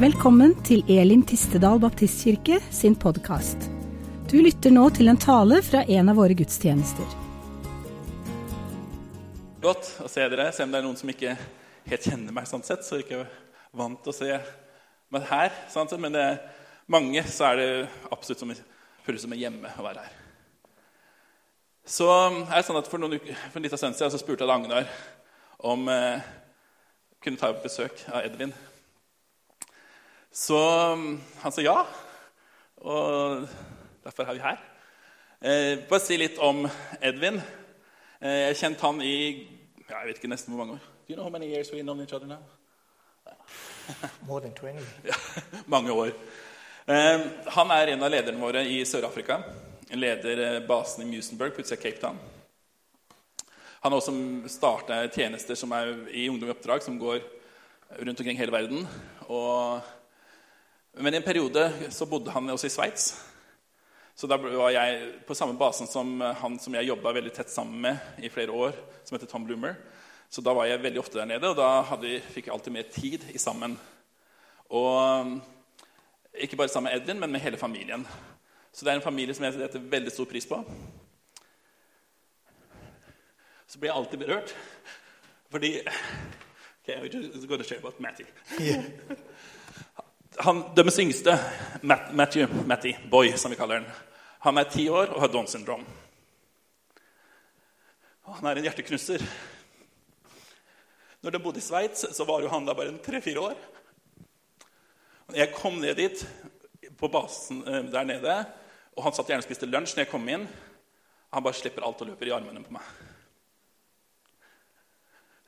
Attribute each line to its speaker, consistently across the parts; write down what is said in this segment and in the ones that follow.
Speaker 1: Velkommen til Elim Tistedal Baptistkirke sin podkast. Du lytter nå til en tale fra en av våre gudstjenester.
Speaker 2: Godt å se dere, selv om det er noen som ikke helt kjenner meg. sånn sett, Så jeg er ikke vant til å se meg her. sånn sett, Men det er mange, så er det absolutt som føles som hjemme å være her. Så er det sånn at For noen uker, for en liten stund siden så spurte jeg da Agnar om eh, kunne ta besøk av Edvin. Så mm, han sa ja, og derfor er vi her. Eh, bare si litt om Edvin. Eh, Jeg har kjent han i ja, jeg vet ikke nesten hvor mange år. Do you know how many years we've known each other now?
Speaker 3: More than 20.
Speaker 2: Mange år. Eh, Han er en av lederne våre i Sør-Afrika. En Leder eh, basen i Musenberg, plutselig Cape Town. Han har også starta tjenester som er i Ungdom i oppdrag, som går rundt omkring hele verden. Og, men i en periode så bodde han også i Sveits. Så da var jeg på samme basen som han som jeg jobba veldig tett sammen med i flere år, som heter Tom Bloomer. Så da var jeg veldig ofte der nede, og da hadde, vi- fikk jeg alltid mer tid i sammen. Og um, ikke bare sammen med Edvin, men med hele familien. Så det er en familie som jeg setter veldig stor pris på. Så blir jeg alltid berørt, fordi okay, we're just gonna share about Matty.
Speaker 3: Yeah.
Speaker 2: Han dømmes yngste, Matt, Matthew, Matty, Boy, som vi kaller han. Han er ti år og har Downs syndrom. Og han er en hjerteknusser. Når de bodde i Sveits, så var jo han da bare en tre-fire år. Og Jeg kom ned dit, på basen eh, der nede, og han satt gjerne og spiste lunsj når jeg kom inn. Han bare slipper alt og løper i armene på meg.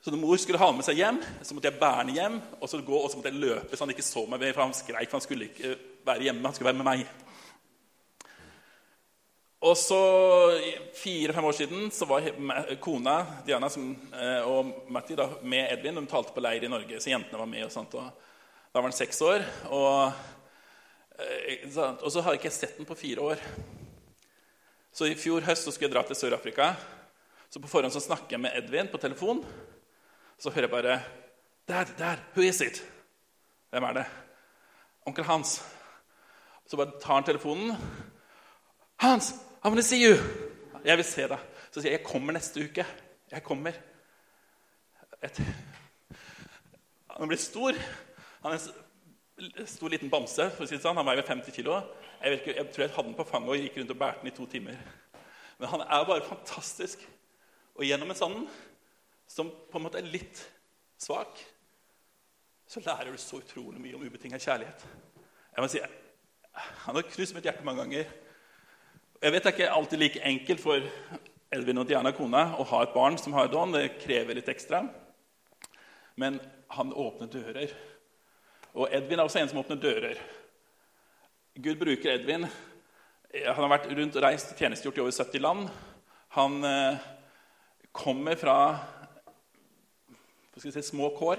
Speaker 2: Så når mor skulle ha han med seg hjem, så måtte jeg bære han hjem. Og så gå, og så måtte jeg løpe så han ikke så meg, for han skreik. For han skulle ikke eh, være hjemme, han skulle være med meg. Og så fire-fem år siden så var he- ma- kona Diana som, eh, og Matti da, med Edvin. De talte på leir i Norge, så jentene var med. og sånt. Og da var han seks år. Og, eh, ikke sant? og så har ikke jeg sett den på fire år. Så i fjor høst så skulle jeg dra til Sør-Afrika. Så på forhånd så snakker jeg med Edvin på telefon. Så hører jeg bare Dad, dad, who is it? Hvem er det? Onkel Hans. Så bare tar han telefonen. Hans, I wanna see you! Jeg vil se deg. Så sier jeg, jeg kommer neste uke. Jeg kommer. Et... Han blir stor. Han er en s- stor liten bamse. for å si det sånn. Han veier vel 50 kilo. Jeg, vet ikke, jeg tror jeg hadde den på fanget og gikk rundt og bærte den i to timer. Men han er bare fantastisk. Og gjennom en sånn som på en måte er litt svak, så lærer du så utrolig mye om ubetinga kjærlighet. Jeg må si, Han har knust mitt hjerte mange ganger. Jeg vet det er ikke alltid like enkelt for Elvin og Diana, kona, å ha et barn som har Don. Det krever litt ekstra. Men han åpner dører. Og Edvin er også en som åpner dører. Gud bruker Edvin. Han har vært rundt og reist og tjenestegjort i over 70 land. Han eh, kommer fra hva skal jeg si, små kår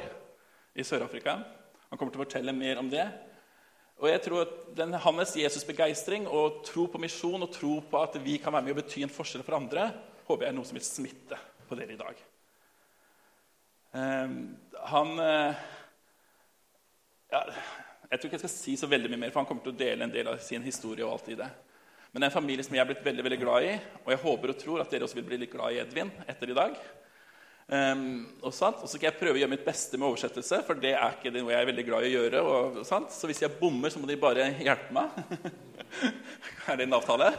Speaker 2: i Sør-Afrika. Han kommer til å fortelle mer om det. Og jeg tror at den, Hans Jesus-begeistring og tro på misjon og tro på at vi kan være med og bety en forskjell for andre, håper jeg er noe som vil smitte på dere i dag. Ehm, han eh, ja, Jeg tror ikke jeg skal si så veldig mye mer, for han kommer til å dele en del av sin historie. og alt i det. Men det er en familie som jeg er blitt veldig veldig glad i, og jeg håper og tror at dere også vil bli litt glad i Edvin etter i dag. Ehm, og, sant? og så skal jeg prøve å gjøre mitt beste med oversettelse, for det er ikke det noe jeg er veldig glad i å gjøre. Og, sant? Så hvis jeg bommer, så må de bare hjelpe meg. er det en avtale?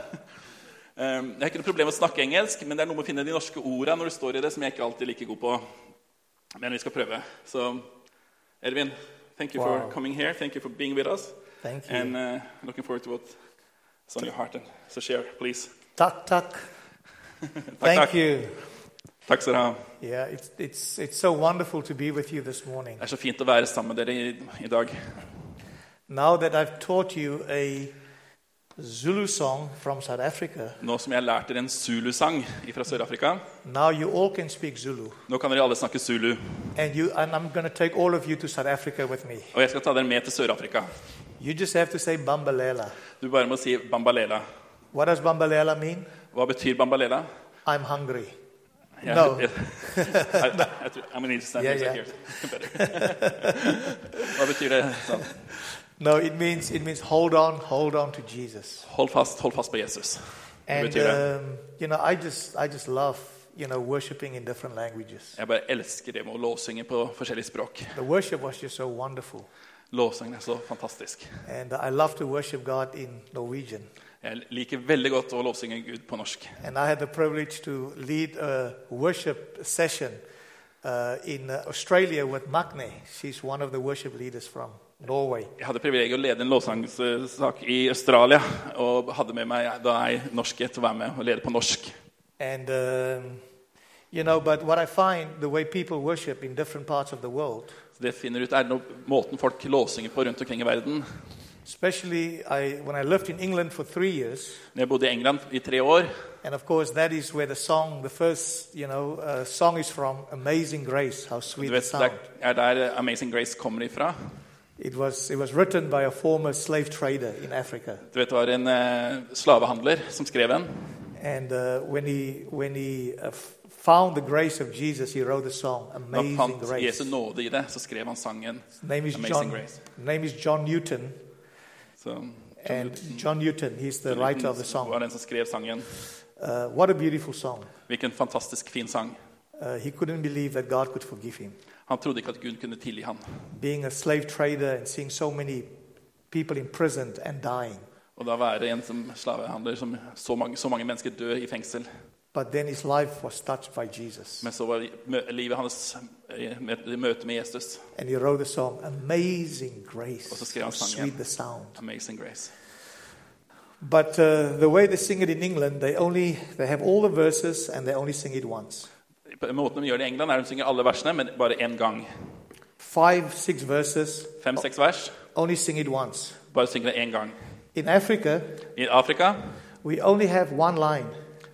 Speaker 2: Ehm, jeg har ikke noe problem med å snakke engelsk, men det er noe med å finne de norske orda når du står i det, som jeg ikke alltid er like god på. Men vi skal prøve. Så Edvin, thank you
Speaker 3: Wow.
Speaker 2: for coming here. Thank you for being with us.
Speaker 3: Thank you.
Speaker 2: And uh, looking forward to what's on your heart. And so share, please.
Speaker 3: Tuck, tuck.
Speaker 2: Takk,
Speaker 3: Thank
Speaker 2: takk.
Speaker 3: you.
Speaker 2: Takk skal dere ha.
Speaker 3: Yeah, it's, it's, it's so wonderful to be with you this morning.
Speaker 2: Det er så fint å være sammen med dere i, i dag.
Speaker 3: Now that I've taught you a Zulu song from South Africa,
Speaker 2: Nå som jeg har lært dere en Zulu-sang fra Sør-Afrika
Speaker 3: now you all can speak Zulu.
Speaker 2: Nå kan dere alle snakke zulu.
Speaker 3: And, you, and I'm going to take all of you to South Africa with me.
Speaker 2: Og jeg skal ta dere med til Sør-Afrika.
Speaker 3: You just have to say Bambalela.
Speaker 2: Du bare må si bambalela.
Speaker 3: What does Bambalela mean?
Speaker 2: Hva betyr bambalela?
Speaker 3: I'm hungry.
Speaker 2: Yeah,
Speaker 3: No.
Speaker 2: yeah. I, I, I'm gonna need to stand
Speaker 3: Yeah,
Speaker 2: music
Speaker 3: yeah.
Speaker 2: here. Better. Hva betyr det? Sånn.
Speaker 3: No, it means, it means hold on, hold on to Jesus.
Speaker 2: Hold fast, hold fast på Jesus. Det
Speaker 3: And,
Speaker 2: betyr det.
Speaker 3: um, you know, I just, I just love, you know, worshiping in different languages.
Speaker 2: Jeg bare elsker det med å låsynge på forskjellige språk.
Speaker 3: The worship was just so wonderful.
Speaker 2: Låsyngen er så fantastisk.
Speaker 3: And I love to worship God in Norwegian.
Speaker 2: Jeg liker veldig godt å lovsynge Gud på norsk.
Speaker 3: And I had the privilege to lead a worship session uh, in uh, Australia with Magne. She's one of the worship leaders from Norway.
Speaker 2: Jeg hadde privilegiet å lede en lovsangsak i Australia. Og hadde med meg da jeg norske til å være med og lede på norsk.
Speaker 3: And, um, you know, but what I find the way people worship in different parts of the world,
Speaker 2: Så det jeg finner ut er noe, måten folk lovsynger på rundt omkring i verden.
Speaker 3: especially I, when I lived in England for three years,
Speaker 2: Når jeg bodde i England i tre år,
Speaker 3: and of course that is where the song, the first, you know, uh, song is from Amazing Grace, How Sweet
Speaker 2: du
Speaker 3: the
Speaker 2: vet,
Speaker 3: Sound.
Speaker 2: det er der Amazing Grace kommer ifra.
Speaker 3: It was, it was written by a former slave trader in Africa.
Speaker 2: Du vet, det var en eh, slavehandler som skrev den.
Speaker 3: And uh, when he, when he uh, f- found the grace of Jesus, he wrote the song
Speaker 2: Da
Speaker 3: Amazing
Speaker 2: fant
Speaker 3: Grace.
Speaker 2: Jesu nåde i det, så skrev han sangen
Speaker 3: His name is
Speaker 2: Amazing
Speaker 3: John,
Speaker 2: Grace.
Speaker 3: name is John Newton.
Speaker 2: Så,
Speaker 3: And John Newton, he's the writer of the song.
Speaker 2: var den som skrev sangen.
Speaker 3: Uh, what a beautiful song.
Speaker 2: Hvilken fantastisk fin sang.
Speaker 3: Uh, he couldn't believe that God could forgive him.
Speaker 2: Han trodde ikke at Gud kunne tilgi han.
Speaker 3: Being a slave trader and seeing so many people imprisoned and dying.
Speaker 2: Og da være en som slavehandler som så mange, så mange mennesker dø i fengsel.
Speaker 3: But then his life was touched by Jesus.
Speaker 2: Men så var mø- livet hans eh, mø- i møte med Jesus.
Speaker 3: And he wrote the song Amazing Grace.
Speaker 2: Och så skrev han
Speaker 3: How
Speaker 2: sången.
Speaker 3: Sweet the sound.
Speaker 2: Amazing grace.
Speaker 3: But uh, the way they sing it in England, they only they have all the verses and they only sing it once.
Speaker 2: På Måten de gjør det i England, er de synger alle versene, men bare én gang.
Speaker 3: Five, six verses,
Speaker 2: Fem-seks vers,
Speaker 3: only sing it once.
Speaker 2: bare synger det én gang.
Speaker 3: In Africa,
Speaker 2: I Afrika
Speaker 3: we only have one line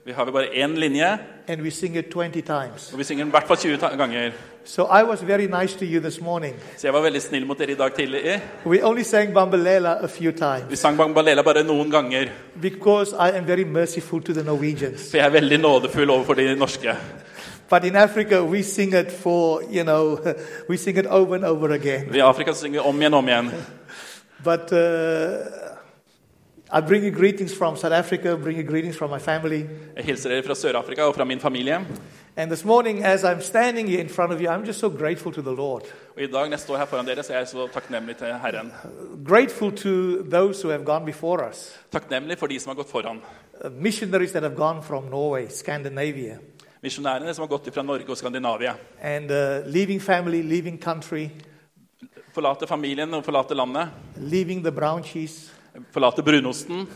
Speaker 2: vi har vi bare én linje,
Speaker 3: and we sing it 20 times.
Speaker 2: og vi synger den i hvert fall 20 ta- ganger.
Speaker 3: So I was very nice to you this morning.
Speaker 2: Så jeg var veldig snill mot dere i dag tidlig.
Speaker 3: We only sang Bambalela a few times
Speaker 2: Vi sang Bambalela bare noen ganger,
Speaker 3: because I am very merciful to the Norwegians.
Speaker 2: for jeg er veldig nådefull overfor de norske.
Speaker 3: But in Africa, we sing it for, you know, we sing it over and over again.
Speaker 2: I Afrika så synger vi om igjen og om igjen.
Speaker 3: But uh, I bring you greetings from South Africa, bring you greetings from my family.
Speaker 2: Jeg hilser dere fra Sør-Afrika og fra min familie.
Speaker 3: And this morning, as I'm standing here in front of you, I'm just so grateful to the Lord.
Speaker 2: Og i dag når jeg står her foran dere, så er jeg så takknemlig til Herren.
Speaker 3: Grateful to those who have gone before us,
Speaker 2: Takknemlig for de som har gått foran.
Speaker 3: uh, missionaries that have gone from Norway, Scandinavia,
Speaker 2: Misjonærene som har gått fra Norge og Skandinavia.
Speaker 3: and uh, leaving family, leaving country,
Speaker 2: Forlate familien og forlate landet.
Speaker 3: leaving the brown cheese.
Speaker 2: Forlate brunosten.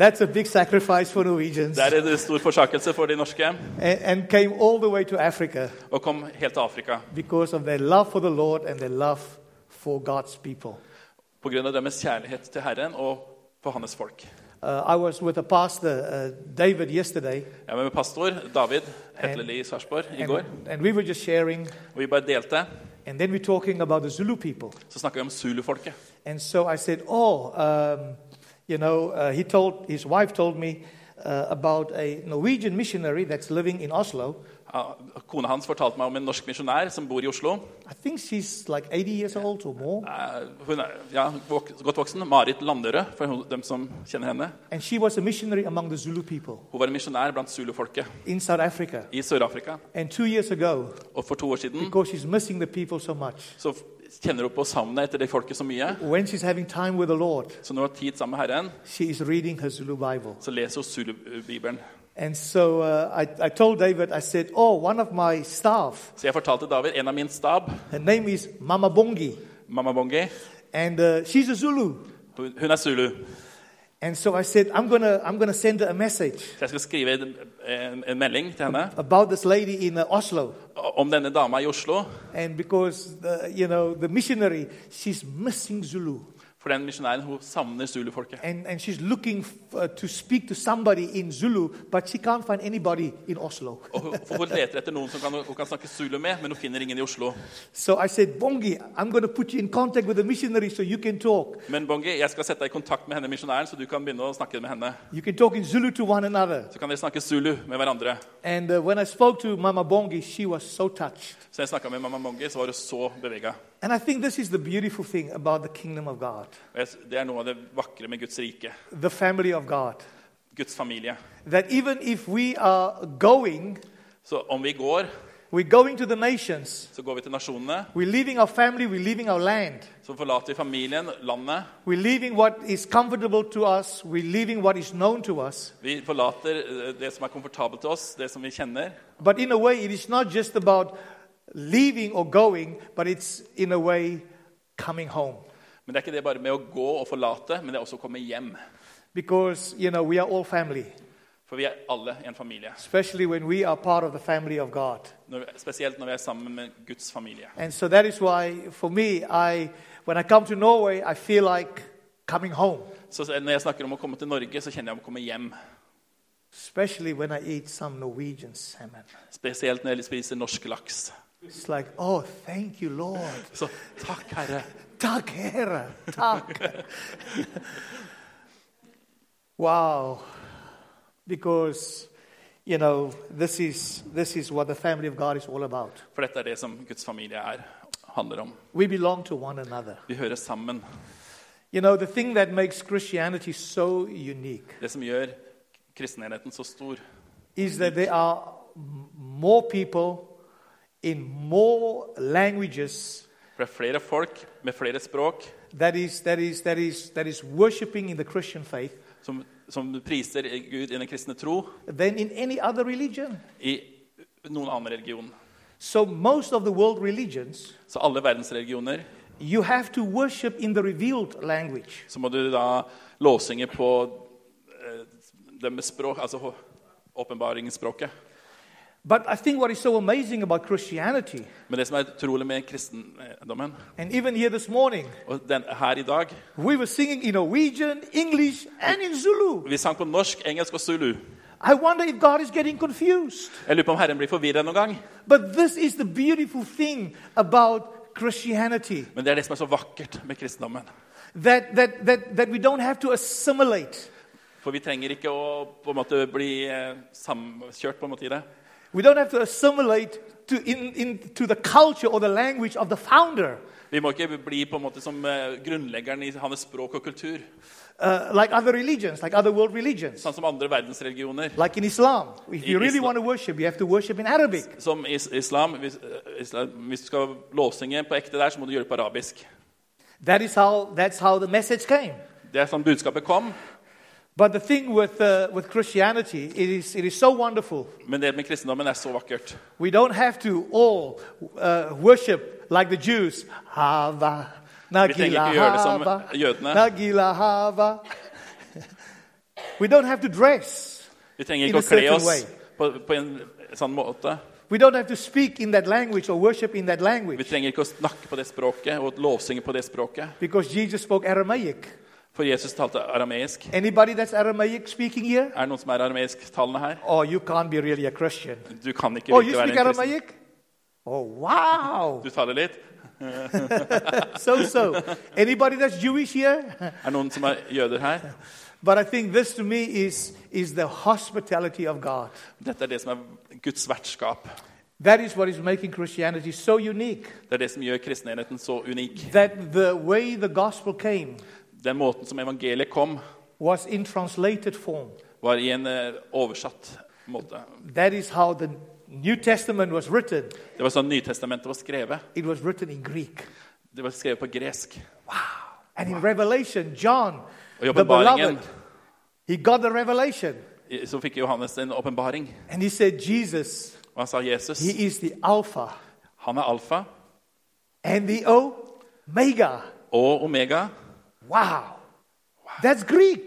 Speaker 3: That's a big sacrifice for Norwegians.
Speaker 2: Det er en stor forsakelse for de norske.
Speaker 3: And, and came all the way to Africa
Speaker 2: Og kom helt til Afrika.
Speaker 3: because of their love for the Lord and their love for God's people.
Speaker 2: På grunn av deres kjærlighet til Herren og for hans folk.
Speaker 3: Uh, I was with a pastor, uh, David, yesterday,
Speaker 2: Jeg var med pastor David Hetleli i Sarpsborg i går.
Speaker 3: and, and we were just sharing,
Speaker 2: Og vi bare delte.
Speaker 3: and then we're talking about the Zulu people.
Speaker 2: Så snakka vi om zulufolket.
Speaker 3: And so I said, "Oh, um, you know," uh, he told his wife told me uh, about a Norwegian missionary that's living in Oslo.
Speaker 2: Ja, Kona hans fortalte meg om en norsk misjonær som bor i Oslo.
Speaker 3: I think she's like 80 years old or more,
Speaker 2: Eh, Hun er ja, vok godt voksen. Marit Landerød, for hun, dem som kjenner henne.
Speaker 3: and she was a missionary among the Zulu people
Speaker 2: Hun var en misjonær blant zulufolket
Speaker 3: in South Africa.
Speaker 2: i Sør-Afrika.
Speaker 3: And two years ago,
Speaker 2: Og for to år siden
Speaker 3: because she's missing the people so much,
Speaker 2: så f- kjenner hun på savnet etter det folket så mye.
Speaker 3: when she's having time with the Lord,
Speaker 2: Så når hun har tid sammen med Herren,
Speaker 3: she is reading her Zulu Bible.
Speaker 2: så leser hun Zulu-bibelen.
Speaker 3: And so uh, I, I told David, I said, "Oh, one of my staff,
Speaker 2: Så jeg fortalte David, en av min stab,
Speaker 3: her name is Mama Bongi,
Speaker 2: mamma Bongi,
Speaker 3: and uh, she's a Zulu."
Speaker 2: hun hun er zulu.
Speaker 3: And so I said, I'm going to I'm gonna send her a message
Speaker 2: Så jeg skal skrive en, en, en melding til henne
Speaker 3: about this lady in uh, Oslo. uh,
Speaker 2: om denne dama i Oslo.
Speaker 3: And because, the, you know, the missionary, she's missing Zulu.
Speaker 2: For For den misjonæren hun savner zulufolket.
Speaker 3: And, and she's looking f- uh, to speak to somebody in Zulu, but she can't find anybody in Oslo.
Speaker 2: Og hun, for hun leter etter noen som kan, hun kan snakke zulu med, men hun finner ingen i Oslo.
Speaker 3: So I said, Bongi, I'm going to put you in contact with a missionary so you can talk.
Speaker 2: Men Bongi, jeg skal sette deg i kontakt med henne misjonæren, så du kan begynne å snakke med henne.
Speaker 3: You can talk in Zulu to one another.
Speaker 2: Så kan dere snakke zulu med hverandre.
Speaker 3: And uh, when I spoke to Mama Bongi, she was so touched.
Speaker 2: Så jeg snakka med mamma Bongi, så var hun så bevega.
Speaker 3: And I think this is the beautiful thing about the kingdom of God,
Speaker 2: Og jeg, det er noe av det vakre med Guds rike.
Speaker 3: the family of God.
Speaker 2: Guds familie.
Speaker 3: That even if we are going,
Speaker 2: Så om vi går,
Speaker 3: we're going to the nations,
Speaker 2: så går vi til nasjonene.
Speaker 3: we're leaving our family, we're leaving our land,
Speaker 2: Så forlater vi familien, landet.
Speaker 3: we're leaving what is comfortable to us, we're leaving what is known to us.
Speaker 2: Vi forlater eh, det som er komfortabelt til oss, det som vi kjenner.
Speaker 3: But in a way, it is not just about leaving or going, but it's in a way coming home.
Speaker 2: Men det er ikke det bare med å gå og forlate, men det er også å komme hjem.
Speaker 3: Because, you know, we are all family,
Speaker 2: For vi er alle en familie.
Speaker 3: especially when we are part of the family of God.
Speaker 2: Når, vi- spesielt når vi er sammen med Guds familie.
Speaker 3: And so that is why, for me, I, when I come to Norway, I feel like coming home,
Speaker 2: Så så når jeg snakker om å komme til Norge, så kjenner jeg om å komme hjem.
Speaker 3: especially when I eat some Norwegian salmon.
Speaker 2: Spesielt når jeg spiser norsk laks.
Speaker 3: It's like, oh, thank you, Lord.
Speaker 2: Så takk, Herre.
Speaker 3: Tack, Herre. Tack. wow. Because, you know, this is, this is what the family of God is all about.
Speaker 2: For dette er det som Guds familie er, handler om.
Speaker 3: We belong to one another.
Speaker 2: Vi hører sammen.
Speaker 3: You know, the thing that makes Christianity so unique
Speaker 2: Det som gjør kristenheten så stor,
Speaker 3: is that there are m- more people in more languages
Speaker 2: for det er flere folk med flere språk
Speaker 3: that is, that is, that is, that is worshiping in the Christian faith
Speaker 2: som, som priser Gud i den kristne tro,
Speaker 3: than in any other religion.
Speaker 2: i noen annen religion.
Speaker 3: So, most of the world religions
Speaker 2: Så alle verdens religioner
Speaker 3: You have to worship in the revealed language.
Speaker 2: så må du da låsynge på eh, det med språk, altså hå- åpenbaringsspråket.
Speaker 3: But I think what is so amazing about Christianity,
Speaker 2: Men det som er utrolig med kristendommen
Speaker 3: and even here this morning,
Speaker 2: og den, Her i dag
Speaker 3: we were singing in Norwegian, English, and in Zulu.
Speaker 2: Vi sang på norsk, engelsk og zulu.
Speaker 3: I wonder if God is getting confused.
Speaker 2: Jeg lurer på om Herren blir forvirra noen gang.
Speaker 3: But this is the beautiful thing about Christianity
Speaker 2: Men det er det som er så vakkert med kristendommen.
Speaker 3: that, that, that, that we don't have to assimilate.
Speaker 2: For vi trenger ikke å på en måte bli eh, samkjørt på en måte i det.
Speaker 3: We don't have to assimilate to, in, in, to the culture or the language of the founder,
Speaker 2: Vi må ikke bli på en måte som eh, grunnleggeren i hans språk og kultur.
Speaker 3: uh, like other religions, like other world religions.
Speaker 2: Sånn som andre verdensreligioner.
Speaker 3: Like in Islam, if you
Speaker 2: In
Speaker 3: really
Speaker 2: Islam-
Speaker 3: want to worship, you have to worship in Arabic.
Speaker 2: Som is islam, hvis, eh, islam Hvis du skal låsynge på ekte der, så må du gjøre det på arabisk.
Speaker 3: That is how, that's how the message came.
Speaker 2: Det er sånn budskapet kom.
Speaker 3: But the thing with, uh, with Christianity, it is, it is so wonderful.
Speaker 2: Men det med kristendommen er så vakkert.
Speaker 3: We don't have to all uh, worship like the Jews. Hava,
Speaker 2: tänker
Speaker 3: Nagila
Speaker 2: inte göra det som
Speaker 3: Hava,
Speaker 2: judarna.
Speaker 3: Nagila Hava. We don't have to dress.
Speaker 2: Vi trenger
Speaker 3: In a
Speaker 2: ikke å kle
Speaker 3: certain way.
Speaker 2: oss på, på en sånn måte.
Speaker 3: We don't have to speak in that language or worship in that
Speaker 2: Vi
Speaker 3: language.
Speaker 2: trenger ikke å snakke på det språket og låsynge på det språket.
Speaker 3: Because Jesus spoke Aramaic.
Speaker 2: For Jesus talte arameisk.
Speaker 3: Anybody that's Aramaic spespeaking here?
Speaker 2: Er det noen som er arameisktalende her?
Speaker 3: Oh, you can't be really a Christian.
Speaker 2: Du kan ikke
Speaker 3: Oh, you
Speaker 2: virkelig være
Speaker 3: speak
Speaker 2: en kristen.
Speaker 3: Aramaic? Oh, wow.
Speaker 2: Du taler litt.
Speaker 3: So, so. Anybody that's Jewish here?
Speaker 2: Er det noen som er jøder her?
Speaker 3: But I think this to me is, is the hospitality of God.
Speaker 2: Dette er det som er Guds vertskap.
Speaker 3: That is what is making Christianity so unique.
Speaker 2: Det er det som gjør kristenheten så unik.
Speaker 3: That the way the gospel came
Speaker 2: Den måten som evangeliet kom,
Speaker 3: was in translated form.
Speaker 2: var i en eh, oversatt måte.
Speaker 3: That is how the New Testament was written.
Speaker 2: Det var sånn Nytestamentet var skrevet.
Speaker 3: It was written in Greek.
Speaker 2: Det var skrevet på gresk.
Speaker 3: And in Revelation, John,
Speaker 2: Och i
Speaker 3: the
Speaker 2: uppenbaringen-
Speaker 3: beloved, he got the revelation.
Speaker 2: I- Så fikk Johannes en åpenbaring.
Speaker 3: And he said, Jesus,
Speaker 2: Og han sa Jesus.
Speaker 3: he is the Alpha
Speaker 2: Han er alfa
Speaker 3: and the Omega.
Speaker 2: og omega.
Speaker 3: Wow. That's Greek.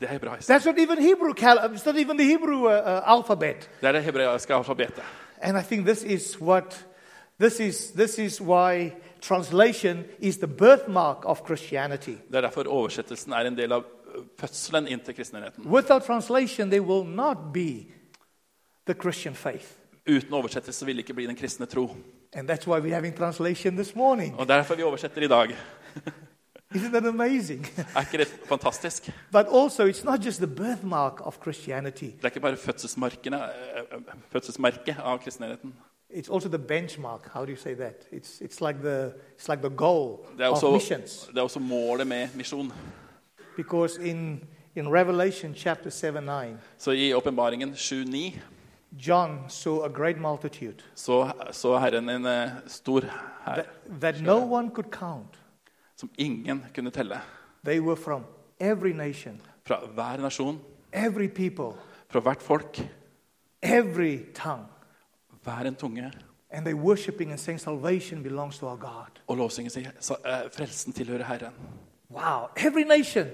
Speaker 2: Det er hebraisk.
Speaker 3: That's not even Hebrew. Cal- it's not even the Hebrew uh, uh, alphabet.
Speaker 2: Det er det hebraiske alfabetet.
Speaker 3: And I think this is what This is, this is why translation is the birthmark of Christianity.
Speaker 2: Det er derfor oversettelsen er en del av eh, fødselen inn til kristenheten.
Speaker 3: Without translation, there will not be the Christian faith.
Speaker 2: Uten oversettelse vil det ikke bli den kristne tro.
Speaker 3: And that's why we're having translation this morning.
Speaker 2: Og derfor vi oversetter i dag.
Speaker 3: Isn't that amazing?
Speaker 2: Er ikke det fantastisk? Det
Speaker 3: but also, it's not just the birthmark of Christianity,
Speaker 2: er ikke bare fødselsmarkene, eh, eh, fødselsmerket av kristenheten.
Speaker 3: it's also the benchmark. How do you say that? It's, it's, like, the, it's like the goal
Speaker 2: Det er
Speaker 3: of
Speaker 2: også,
Speaker 3: missions.
Speaker 2: det er også målet med misjon.
Speaker 3: Because in, in Revelation chapter 7 9,
Speaker 2: Så i åpenbaringen 7.9
Speaker 3: John saw a great multitude
Speaker 2: så, så Herren en eh, stor hær
Speaker 3: that, that no one could count.
Speaker 2: som ingen kunne telle.
Speaker 3: They were from every nation,
Speaker 2: Fra hver nasjon,
Speaker 3: every people,
Speaker 2: fra hvert folk,
Speaker 3: every tongue.
Speaker 2: hver en tunge.
Speaker 3: And they worshiping and saying, Salvation belongs to our God.
Speaker 2: Og lovsyngen sier så, eh, frelsen tilhører Herren.
Speaker 3: Wow. Every nation,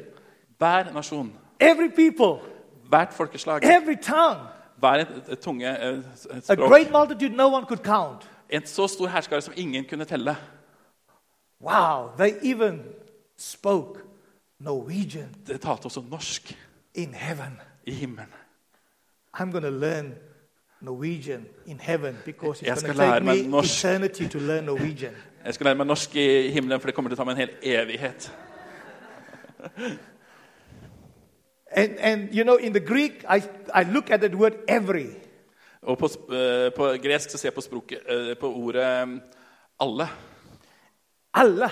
Speaker 2: Hver nasjon,
Speaker 3: every people,
Speaker 2: hvert folkeslag,
Speaker 3: every tongue.
Speaker 2: hver en eh, tunge, eh, s- et
Speaker 3: A
Speaker 2: språk.
Speaker 3: great multitude no one could count.
Speaker 2: En så stor herskare som ingen kunne telle.
Speaker 3: Wow. They even spoke Norwegian
Speaker 2: Det talte også norsk
Speaker 3: in heaven.
Speaker 2: i himmelen.
Speaker 3: I'm going to learn Norwegian in heaven because
Speaker 2: Jag
Speaker 3: it's going
Speaker 2: ska lära
Speaker 3: to take
Speaker 2: mig
Speaker 3: me
Speaker 2: norsk.
Speaker 3: eternity to learn Norwegian.
Speaker 2: Jeg skal lære meg norsk i himmelen, for det kommer til å ta meg en hel evighet.
Speaker 3: And, and you know, in the Greek, I, I look at that word every.
Speaker 2: Og på, sp- eh, på gresk så ser jeg på, språket, eh, på ordet eh, alle.
Speaker 3: Allah.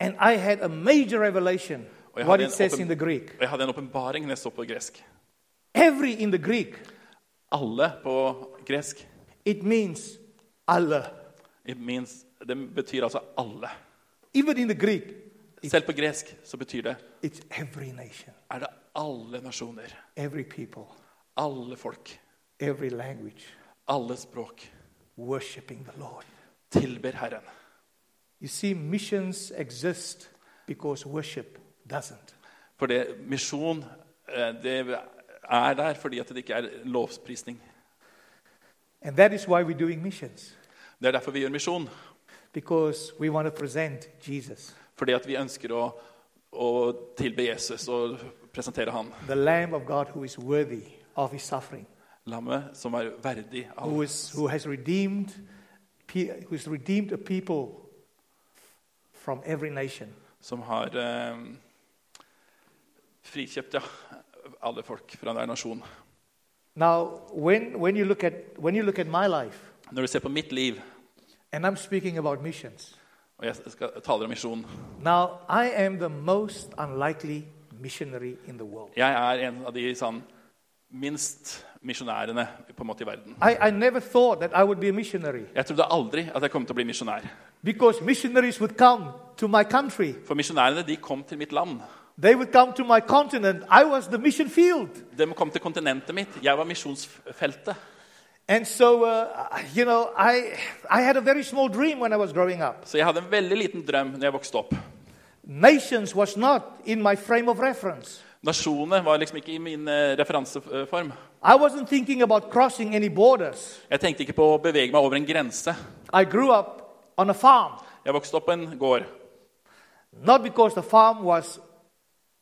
Speaker 3: And I had a major revelation
Speaker 2: Och jag
Speaker 3: what
Speaker 2: hade
Speaker 3: it
Speaker 2: en
Speaker 3: says
Speaker 2: open-
Speaker 3: in the Greek.
Speaker 2: Og jeg hadde en åpenbaring når jeg så på gresk.
Speaker 3: Every in the Greek,
Speaker 2: Alle på gresk.
Speaker 3: it means Allah.
Speaker 2: It means, det betyr altså alle.
Speaker 3: Even in the Greek,
Speaker 2: Selv på gresk så betyr det
Speaker 3: it's every nation,
Speaker 2: er det alle nasjoner,
Speaker 3: every people,
Speaker 2: alle folk,
Speaker 3: every language
Speaker 2: alle språk
Speaker 3: worshiping the Lord.
Speaker 2: tilber Herren.
Speaker 3: You see, missions exist because worship doesn't.
Speaker 2: For det misjon eh, det er der fordi at det ikke er lovprisning.
Speaker 3: And that is why we're doing missions,
Speaker 2: Det er derfor vi gjør misjon.
Speaker 3: because we want to present Jesus,
Speaker 2: Fordi at vi ønsker å, å tilbe Jesus og presentere Han.
Speaker 3: the Lamb of God who is worthy of his suffering.
Speaker 2: Lammet som er verdig av
Speaker 3: who, is, who has redeemed, pe- who's redeemed a people from every nation.
Speaker 2: som har eh, frikjøpt ja, alle folk fra hver nasjon.
Speaker 3: Now, when, when, you look at, when you look at my life,
Speaker 2: Når du ser på mitt liv,
Speaker 3: and I'm speaking about missions,
Speaker 2: og jeg skal, taler om misjon
Speaker 3: now I am the most unlikely missionary in the world.
Speaker 2: Jeg er en av de sånn, minst misjonærene på en måte i verden.
Speaker 3: I, I never thought that I would be a missionary
Speaker 2: Jeg trodde aldri at jeg kom til å bli misjonær.
Speaker 3: because missionaries would come to my country,
Speaker 2: For misjonærene de kom til mitt land.
Speaker 3: they would come to my continent. I was the mission field.
Speaker 2: De kom til kontinentet mitt. Jeg var misjonsfeltet.
Speaker 3: And so, uh, you know, I, I had a very small dream when I was growing up.
Speaker 2: Så jeg hadde en veldig liten drøm når jeg vokste opp.
Speaker 3: Nations was not in my frame of reference.
Speaker 2: Nasjonene var liksom ikke i min eh, referanseform.
Speaker 3: I wasn't thinking about crossing any borders.
Speaker 2: Jeg tenkte ikke på å bevege meg over en grense.
Speaker 3: I grew up on a farm,
Speaker 2: Jeg vokste opp på en gård.
Speaker 3: not because the farm was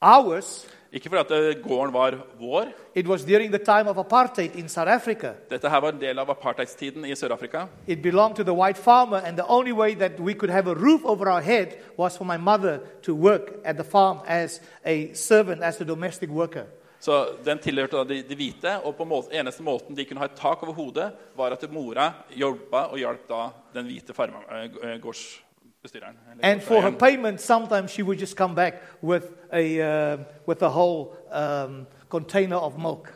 Speaker 3: ours,
Speaker 2: Ikke fordi at eh, gården var vår.
Speaker 3: it was during the time of apartheid in South Africa.
Speaker 2: Dette her var en del av apartheidstiden i Sør-Afrika.
Speaker 3: It belonged to the white farmer, and the only way that we could have a roof over our head was for my mother to work at the farm as a servant, as a domestic worker.
Speaker 2: Så den tilhørte da de, de hvite, og på må, eneste måten de kunne ha et tak over hodet, var at mora jobba og hjalp da den hvite farma, eh, g- eh, gårdsbestyreren. eller
Speaker 3: And for her
Speaker 2: gårdseieren.
Speaker 3: payment, sometimes she would just come back with a, uh, with a whole um, container of milk.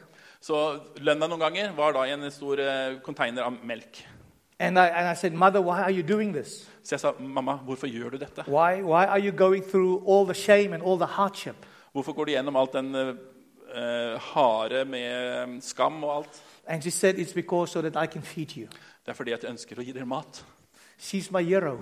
Speaker 2: Så lønna noen ganger var da i en stor eh, container av melk.
Speaker 3: And I, and I said, Mother, why are you doing this?
Speaker 2: Så jeg sa, 'Mamma, hvorfor gjør du dette?
Speaker 3: Why, why are you going through all the shame and all the hardship?
Speaker 2: Hvorfor går du gjennom alt den eh, eh, harde med eh, skam og alt?'
Speaker 3: And she said, It's because so that I can feed you.
Speaker 2: Det er fordi at jeg ønsker å gi dere mat.
Speaker 3: She's my hero.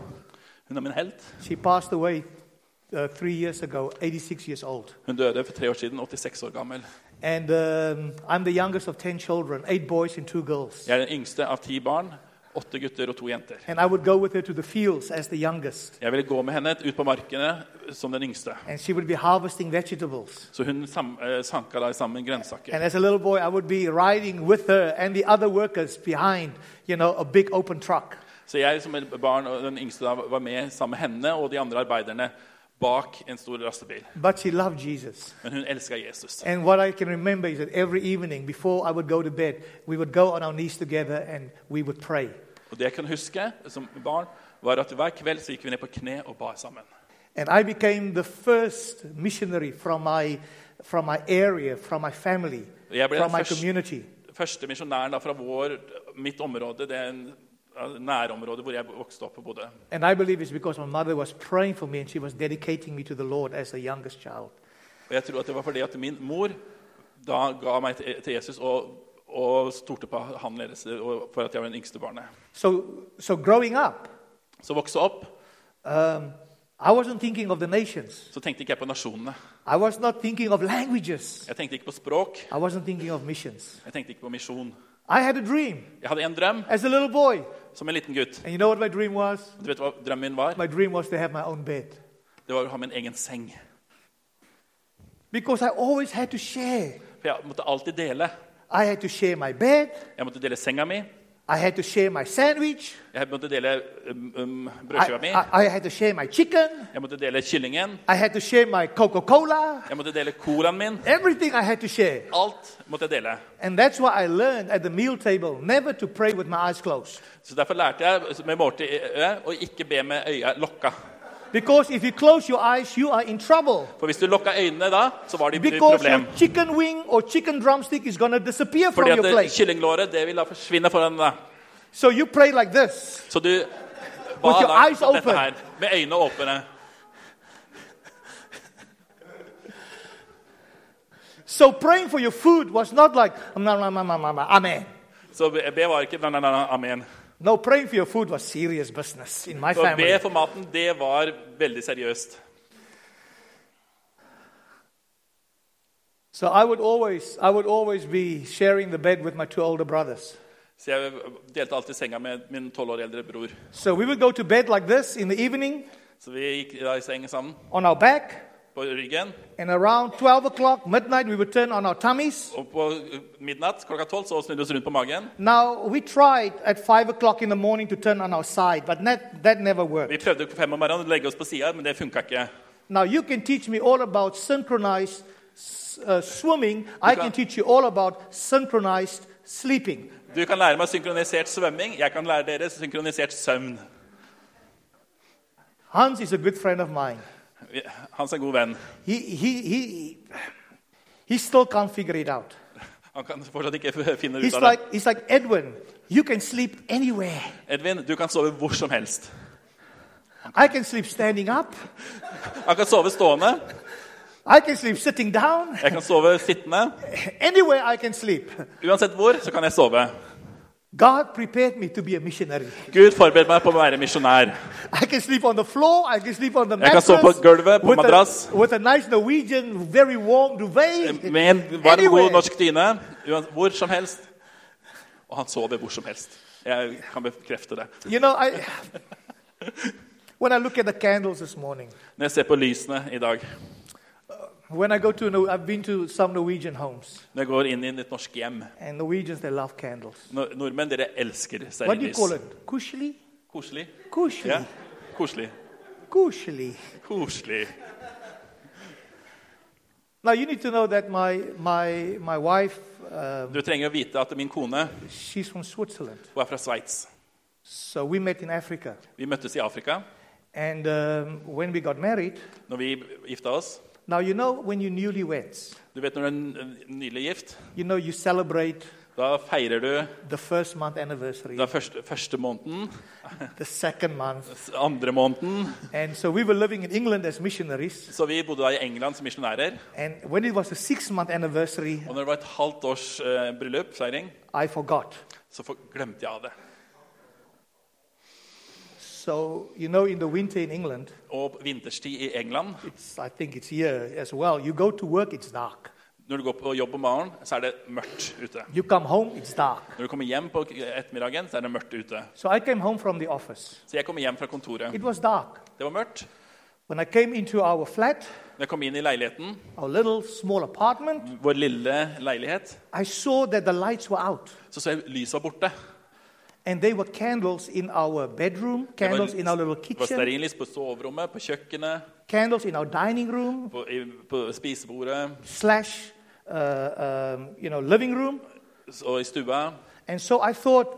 Speaker 2: Hun er min helt.
Speaker 3: She passed away uh, three years ago, 86 years old.
Speaker 2: Hun døde for tre år siden, 86 år gammel.
Speaker 3: And um, I'm the youngest of 10 children, eight boys and two girls.
Speaker 2: Jeg er den yngste av ti barn, Åtte gutter og to jenter.
Speaker 3: And I would go with her to the fields as the youngest.
Speaker 2: Jeg ville gå med henne ut på markene som den yngste.
Speaker 3: And she would be harvesting vegetables.
Speaker 2: Så hun sam eh, sanka da sammen grønnsaker.
Speaker 3: And as a little boy, I would be riding with her and the other workers behind, you know, a big open truck.
Speaker 2: Så jeg som et barn og den yngste da var med sammen med henne og de andre arbeiderne bak en stor lastebil.
Speaker 3: But she loved Jesus.
Speaker 2: Men hun elska Jesus.
Speaker 3: And what I can remember is that every evening before I would go to bed, we would go on our knees together and we would pray.
Speaker 2: Og det jeg kan huske som barn, var at hver kveld så gikk vi ned på kne og ba sammen.
Speaker 3: And I became the first missionary from my, from my area, from my family,
Speaker 2: Yeah, but
Speaker 3: from my
Speaker 2: first-
Speaker 3: community.
Speaker 2: Første misjonæren da fra vår, mitt område, det er en- ja, nærområdet hvor jeg vokste opp og bodde.
Speaker 3: And I believe it's because my mother was praying for me and she was dedicating me to the Lord as the youngest child.
Speaker 2: Og jeg tror at det var fordi at min mor da ga meg til til Jesus og, og stolte på han deres og- for at jeg var den yngste barnet.
Speaker 3: So, so growing up,
Speaker 2: Så vokste opp,
Speaker 3: um, I wasn't thinking of the nations.
Speaker 2: så tenkte ikke jeg på nasjonene.
Speaker 3: I was not thinking of languages.
Speaker 2: Jeg tenkte ikke på språk.
Speaker 3: I wasn't thinking of missions.
Speaker 2: Jeg tenkte ikke på misjon.
Speaker 3: I had a dream
Speaker 2: Jeg hadde en drøm
Speaker 3: as a little boy.
Speaker 2: som en liten gutt.
Speaker 3: And you know what my dream was?
Speaker 2: Du vet hva drømmen min var?
Speaker 3: My dream was to have my own bed.
Speaker 2: Det var å ha min egen seng.
Speaker 3: Because I always had to share.
Speaker 2: For jeg måtte alltid dele.
Speaker 3: I had to share my bed.
Speaker 2: Jeg måtte dele senga mi.
Speaker 3: I had to share my sandwich.
Speaker 2: Jeg måtte dele um, um,
Speaker 3: I,
Speaker 2: brødskiva mi.
Speaker 3: I, I had to share my chicken.
Speaker 2: Jeg måtte dele kyllingen.
Speaker 3: I had to share my Coca Cola.
Speaker 2: Jeg måtte dele colaen min.
Speaker 3: Everything I had to share.
Speaker 2: Alt måtte jeg dele.
Speaker 3: And that's why I learned at the meal table never to pray with my eyes closed.
Speaker 2: Så derfor lærte jeg med måltid i øyet å ikke be med øya lokka.
Speaker 3: Because if you close your eyes, you are in trouble.
Speaker 2: For hvis du lokka øynene da, så var det et
Speaker 3: Because your
Speaker 2: problem.
Speaker 3: chicken wing or chicken drumstick is going to disappear from
Speaker 2: Fordi
Speaker 3: your
Speaker 2: at det-
Speaker 3: plate.
Speaker 2: kyllinglåret det vil da forsvinne foran deg.
Speaker 3: So you pray like this.
Speaker 2: Så du ba
Speaker 3: With your
Speaker 2: da
Speaker 3: eyes
Speaker 2: om dette
Speaker 3: open.
Speaker 2: her med øynene åpne.
Speaker 3: So praying for your food was not like, "Nom, nom, nom, nom, nom, nom, nom, amen.
Speaker 2: Så be be var ikke nei, nei, nei, nei, amen.
Speaker 3: No, praying for your food was serious business in my
Speaker 2: Så å be
Speaker 3: family.
Speaker 2: for maten, det var veldig seriøst.
Speaker 3: So I would always, I would always be sharing the bed with my two older brothers.
Speaker 2: Så jeg delte alltid senga med min tolv år eldre bror.
Speaker 3: So we would go to bed like this in the evening
Speaker 2: Så vi gikk da i seng sammen
Speaker 3: on our back,
Speaker 2: på ryggen.
Speaker 3: and around 12 o'clock midnight we would turn on our tummies.
Speaker 2: Og på midnatt klokka tolv så snudde vi oss rundt på magen.
Speaker 3: Now we tried at 5 o'clock in the morning to turn on our side, but that, that never worked.
Speaker 2: Vi prøvde på fem om morgenen å legge oss på sida, men det funka ikke.
Speaker 3: Now you can teach me all about synchronized s- uh, swimming. I
Speaker 2: Okay.
Speaker 3: can teach you all about synchronized sleeping.
Speaker 2: Du kan lære meg synkronisert svømming, jeg kan lære dere synkronisert søvn.
Speaker 3: Hans is a good friend of mine.
Speaker 2: Vi- Hans er en god venn.
Speaker 3: He, he, he, he still can't figure it out.
Speaker 2: Han kan fortsatt ikke finne ut
Speaker 3: He's
Speaker 2: av det.
Speaker 3: like, he's like Edwin, you can sleep anywhere.
Speaker 2: Edvin, du kan sove hvor som helst.
Speaker 3: I can sleep standing up.
Speaker 2: Han kan sove stående,
Speaker 3: I can sleep sitting down.
Speaker 2: jeg kan sove sittende.
Speaker 3: Anywhere I can sleep.
Speaker 2: Uansett hvor, så kan jeg sove.
Speaker 3: God prepared me to be a missionary.
Speaker 2: Gud forbered meg på å være misjonær.
Speaker 3: I can sleep on the floor. I can sleep on the
Speaker 2: Jeg kan
Speaker 3: mattress.
Speaker 2: sove på gulvet, på
Speaker 3: with,
Speaker 2: madrass.
Speaker 3: a, with a nice Norwegian, very warm duvet.
Speaker 2: Med en varm, god norsk dyne. uans- Hvor som helst. Og han sover hvor som helst. Jeg kan bekrefte det.
Speaker 3: You know, I, when I look at the candles this morning,
Speaker 2: Når jeg ser på lysene i dag,
Speaker 3: when I go to, Nor- I've been to some Norwegian homes,
Speaker 2: når jeg går inn i et norsk hjem
Speaker 3: and Norwegians, they love candles.
Speaker 2: Nor- Nordmenn, dere elsker
Speaker 3: What do you
Speaker 2: stearinlys.
Speaker 3: call it? Kushli?
Speaker 2: Koselig.
Speaker 3: Kushli.
Speaker 2: Ja. Koselig.
Speaker 3: Kushli.
Speaker 2: Koselig.
Speaker 3: Now, you need to know that my, my, my wife, uh,
Speaker 2: Du trenger å vite at min kone hun
Speaker 3: she's from Switzerland.
Speaker 2: er fra Sveits.
Speaker 3: So we met in Africa.
Speaker 2: Vi møttes i Afrika
Speaker 3: And um, when we got married,
Speaker 2: når vi gifta oss.
Speaker 3: now you know when you're newlyweds,
Speaker 2: Du vet når du er n- nylig gift,
Speaker 3: you know you celebrate
Speaker 2: da feirer du
Speaker 3: the first month anniversary,
Speaker 2: den første, første måneden,
Speaker 3: the second month.
Speaker 2: s- andre måneden.
Speaker 3: And so we were living in England as missionaries.
Speaker 2: Så vi bodde da i England som misjonærer.
Speaker 3: And when it was the six month anniversary,
Speaker 2: Og når det var et halvt års eh, bryllup, feiring,
Speaker 3: I forgot.
Speaker 2: så for, glemte jeg av det.
Speaker 3: So, you know, in the winter in England,
Speaker 2: Og vinterstid i England,
Speaker 3: it's, I think it's here as well. You go to work, it's dark.
Speaker 2: Når du går på jobb om morgenen, så er det mørkt ute.
Speaker 3: You come home, it's dark.
Speaker 2: Når du kommer hjem på ettermiddagen, så er det mørkt ute.
Speaker 3: So I came home from the office.
Speaker 2: Så jeg kommer hjem fra kontoret.
Speaker 3: It was dark.
Speaker 2: Det var mørkt.
Speaker 3: When I came into our flat,
Speaker 2: Når jeg kom inn i leiligheten,
Speaker 3: our little small apartment,
Speaker 2: vår lille leilighet,
Speaker 3: I saw that the lights were out.
Speaker 2: så så jeg lyset var borte.
Speaker 3: And there were candles in our bedroom,
Speaker 2: Det var,
Speaker 3: candles in our little
Speaker 2: det var
Speaker 3: kitchen,
Speaker 2: stearinlys på soverommet, på kjøkkenet,
Speaker 3: candles in our dining room,
Speaker 2: på, i, på spisebordet
Speaker 3: slash, uh, um, you know, living room.
Speaker 2: og i stua.
Speaker 3: And so I thought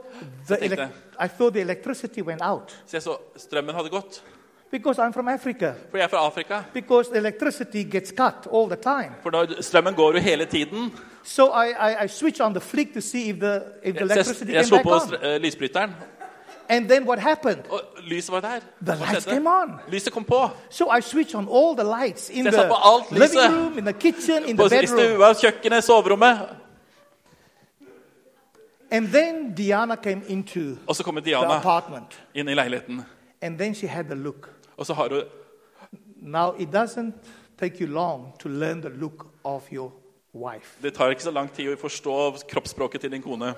Speaker 3: the,
Speaker 2: Take
Speaker 3: elec-
Speaker 2: that.
Speaker 3: I thought the electricity went out
Speaker 2: Så jeg så strømmen hadde gått.
Speaker 3: because I'm from Africa.
Speaker 2: For jeg er fra Afrika.
Speaker 3: Because the electricity gets cut all the time.
Speaker 2: For når strømmen går jo hele tiden.
Speaker 3: So I, I, I switch on the flick to see if the, if the
Speaker 2: Så jeg,
Speaker 3: electricity
Speaker 2: jeg
Speaker 3: came
Speaker 2: slo
Speaker 3: back
Speaker 2: på
Speaker 3: on.
Speaker 2: str- eh, lysbryteren,
Speaker 3: And then what happened?
Speaker 2: og lyset var der.
Speaker 3: The
Speaker 2: Hva
Speaker 3: lights
Speaker 2: skjedde?
Speaker 3: came on.
Speaker 2: Lyset kom på.
Speaker 3: So I switch on all the lights in
Speaker 2: Zet
Speaker 3: the
Speaker 2: op alt
Speaker 3: living
Speaker 2: lyset.
Speaker 3: room, in the kitchen, in
Speaker 2: På
Speaker 3: the
Speaker 2: i
Speaker 3: bedroom.
Speaker 2: stua, kjøkkenet, soverommet.
Speaker 3: And then Diana came into
Speaker 2: Og så kommer
Speaker 3: the
Speaker 2: Diana
Speaker 3: apartment.
Speaker 2: inn i leiligheten.
Speaker 3: And then she had the look.
Speaker 2: Og så har hun
Speaker 3: Now, it doesn't take you long to learn the look of your wife.
Speaker 2: Det tar ikke så lang tid å forstå kroppsspråket til din kone.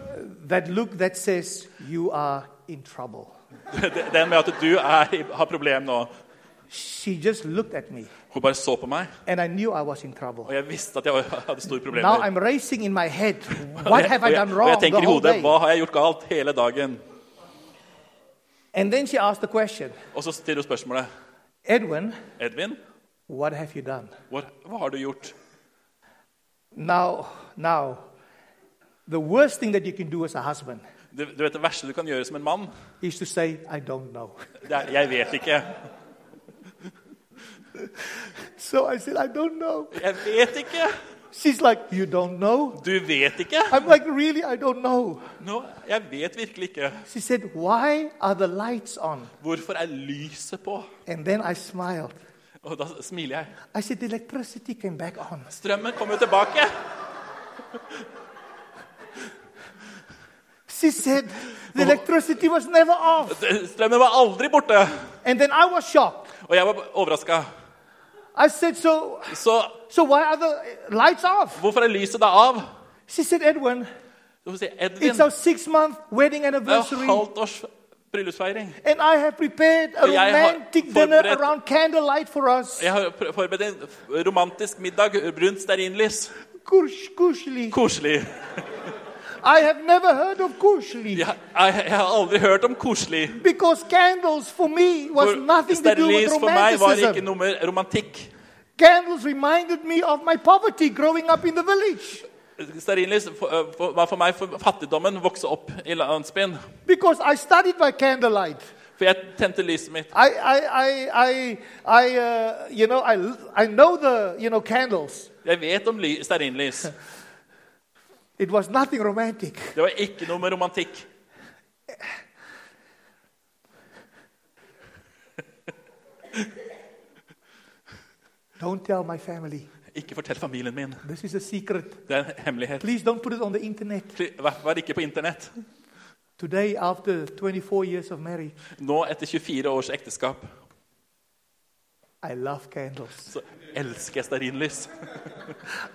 Speaker 3: That look that says, You are in trouble.
Speaker 2: Den med at du er, i- har problem nå.
Speaker 3: She just looked at me,
Speaker 2: Hun bare så på meg,
Speaker 3: and I knew I was in trouble.
Speaker 2: og jeg visste at jeg var- hadde store
Speaker 3: Now
Speaker 2: problemer.
Speaker 3: I'm racing in my head.
Speaker 2: Og
Speaker 3: What
Speaker 2: jeg,
Speaker 3: have
Speaker 2: og
Speaker 3: I
Speaker 2: jeg,
Speaker 3: done
Speaker 2: og jeg
Speaker 3: wrong the
Speaker 2: tenker i
Speaker 3: whole
Speaker 2: hodet
Speaker 3: day?
Speaker 2: Hva har jeg gjort galt hele dagen?
Speaker 3: And then she asked the question,
Speaker 2: Og så stiller hun spørsmålet.
Speaker 3: Edwin,
Speaker 2: Edvin,
Speaker 3: what have you done?
Speaker 2: hvor, hva har du gjort?
Speaker 3: Now, now, the worst thing that you can do as a husband
Speaker 2: Du, du vet Det verste du kan gjøre som en mann,
Speaker 3: is to say, I don't know.
Speaker 2: det er 'jeg vet ikke'.
Speaker 3: So I said, I don't know.
Speaker 2: Jeg vet ikke!
Speaker 3: She's like, You don't know?
Speaker 2: Du vet ikke!
Speaker 3: I'm like, Really? I don't know.
Speaker 2: Nå, jeg vet virkelig ikke.
Speaker 3: She said, Why are the lights on?
Speaker 2: Hvorfor er lyset på?
Speaker 3: And then I smiled.
Speaker 2: Og da smiler jeg.
Speaker 3: I said, The electricity came back on.
Speaker 2: Strømmen kommer jo tilbake!
Speaker 3: She said, The electricity was never off.
Speaker 2: Strømmen var aldri borte!
Speaker 3: And then I was shocked.
Speaker 2: Og jeg var overraska.
Speaker 3: I said, So,
Speaker 2: Så
Speaker 3: so why are the lights off?
Speaker 2: hvorfor er lyset da av?
Speaker 3: She said, Edwin,
Speaker 2: Så får vi si, Edvin,
Speaker 3: it's our six month wedding
Speaker 2: det er
Speaker 3: anniversary.
Speaker 2: jo halvt års bryllupsfeiring.
Speaker 3: And I have prepared a
Speaker 2: Jij had
Speaker 3: romantic dinner
Speaker 2: voorbereid-
Speaker 3: around candlelight for us.
Speaker 2: Jeg har pr- forberedt en f- romantisk middag rundt stearinlys.
Speaker 3: Kush, kushli.
Speaker 2: Koselig.
Speaker 3: I have never heard of kushli.
Speaker 2: Jeg, jeg, jeg har aldri hørt om koselig.
Speaker 3: Because candles for me was
Speaker 2: For
Speaker 3: nothing to do
Speaker 2: Stearinlys
Speaker 3: with
Speaker 2: for meg var ikke
Speaker 3: romanticism.
Speaker 2: noe med romantikk.
Speaker 3: Candles reminded me of my poverty growing up in the village.
Speaker 2: Stearinlys for- øh, for- var for meg for fattigdommen vokse opp i landsbyen.
Speaker 3: Because I studied by candlelight.
Speaker 2: For jeg tente lyset mitt.
Speaker 3: I, I, I, I, I uh, you know, I, I know the, you know, candles.
Speaker 2: Jeg vet om ly- stearinlys.
Speaker 3: It was nothing romantic.
Speaker 2: Det var ikke noe med romantikk.
Speaker 3: Don't tell my family.
Speaker 2: Ikke fortell familien min.
Speaker 3: This is a secret.
Speaker 2: Det er en hemmelighet.
Speaker 3: Please don't put it on the internet.
Speaker 2: I hvert fall ikke på internett.
Speaker 3: Today, after 24 years of marriage,
Speaker 2: Nå, etter 24 års ekteskap,
Speaker 3: I love candles.
Speaker 2: så elsker jeg stearinlys.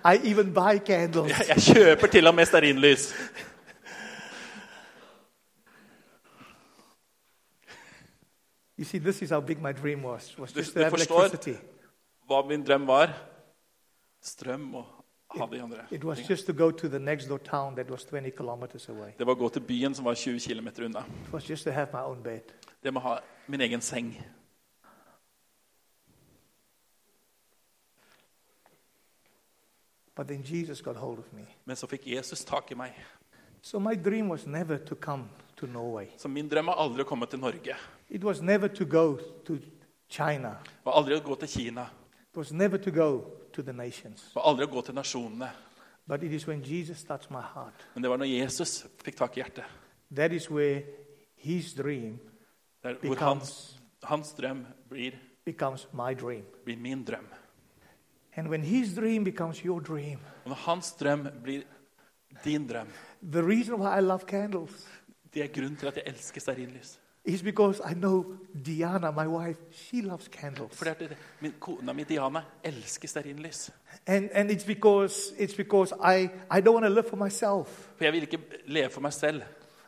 Speaker 3: I even buy candles.
Speaker 2: Jeg, jeg kjøper til og med stearinlys.
Speaker 3: You see, this is how big my dream was, was
Speaker 2: Dus
Speaker 3: just
Speaker 2: de
Speaker 3: to have
Speaker 2: verstoor-
Speaker 3: electricity.
Speaker 2: Hva min drøm var strøm og ha de andre.
Speaker 3: It was
Speaker 2: tingene.
Speaker 3: just to go to the next door town that was 20 kilometers away.
Speaker 2: Det var å gå til byen som var 20 km unna.
Speaker 3: It was just to have my own bed.
Speaker 2: Det med å ha min egen seng.
Speaker 3: But then Jesus got hold of me.
Speaker 2: Men så fikk Jesus tak i meg.
Speaker 3: So my dream was never to come to Norway.
Speaker 2: Så min drøm var aldri å komme til Norge.
Speaker 3: It was never to go to China.
Speaker 2: Var aldri å gå til Kina.
Speaker 3: It was never to go to the nations.
Speaker 2: Var aldri å gå til nasjonene.
Speaker 3: But it is when Jesus touched my heart.
Speaker 2: Men det var når Jesus fikk tak i hjertet.
Speaker 3: That is where his dream
Speaker 2: Det er hvor hans,
Speaker 3: becomes,
Speaker 2: hans drøm blir,
Speaker 3: becomes my dream.
Speaker 2: blir min drøm.
Speaker 3: And when his dream becomes your dream,
Speaker 2: Og når hans drøm blir din drøm
Speaker 3: the reason why I love candles
Speaker 2: Det er grunnen til at jeg elsker stearinlys.
Speaker 3: is because I know Diana, my wife, she loves candles.
Speaker 2: For det er det- min kona mi Diana elsker stearinlys.
Speaker 3: And, and it's because, it's because I, I don't want to live for myself.
Speaker 2: For jeg vil ikke leve for meg selv.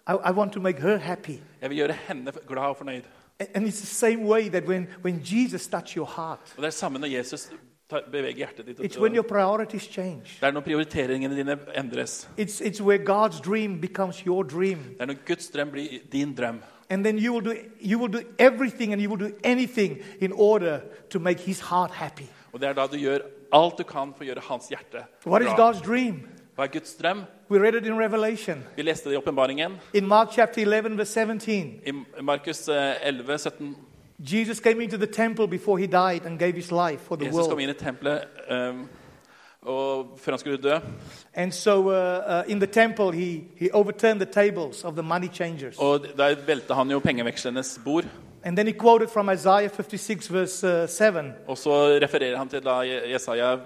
Speaker 3: I, I want to make her happy.
Speaker 2: Jeg vil gjøre henne glad og fornøyd.
Speaker 3: And, and it's the same way that when, when Jesus touched your heart,
Speaker 2: Og Det er det samme når Jesus tar, beveger hjertet ditt.
Speaker 3: it's when your
Speaker 2: og-
Speaker 3: priorities change.
Speaker 2: Det er når prioriteringene dine endres.
Speaker 3: It's, it's where God's dream becomes your dream.
Speaker 2: Det er når Guds drøm blir din drøm.
Speaker 3: And then you will, do, you will do everything and you will do anything in order to make his heart happy.
Speaker 2: Og det er da du gjør alt du kan for å gjøre hans hjerte
Speaker 3: What is
Speaker 2: glad.
Speaker 3: God's dream?
Speaker 2: Hva er Guds drøm?
Speaker 3: We read it in Revelation.
Speaker 2: Vi leste det i åpenbaringen.
Speaker 3: In Mark chapter 11, verse 17,
Speaker 2: I Markus eh, 11, 17.
Speaker 3: Jesus came into the temple before he died and gave his life for the
Speaker 2: Jesus kom
Speaker 3: world.
Speaker 2: inn i tempelet eh, og før han skulle dø.
Speaker 3: And so uh, uh, in the temple, he, he overturned the tables of the money changers.
Speaker 2: Og der velta han jo pengevekslernes bord.
Speaker 3: And then he quoted from Isaiah 56, verse uh, 7.
Speaker 2: Og så refererer han til da Je- Jesaja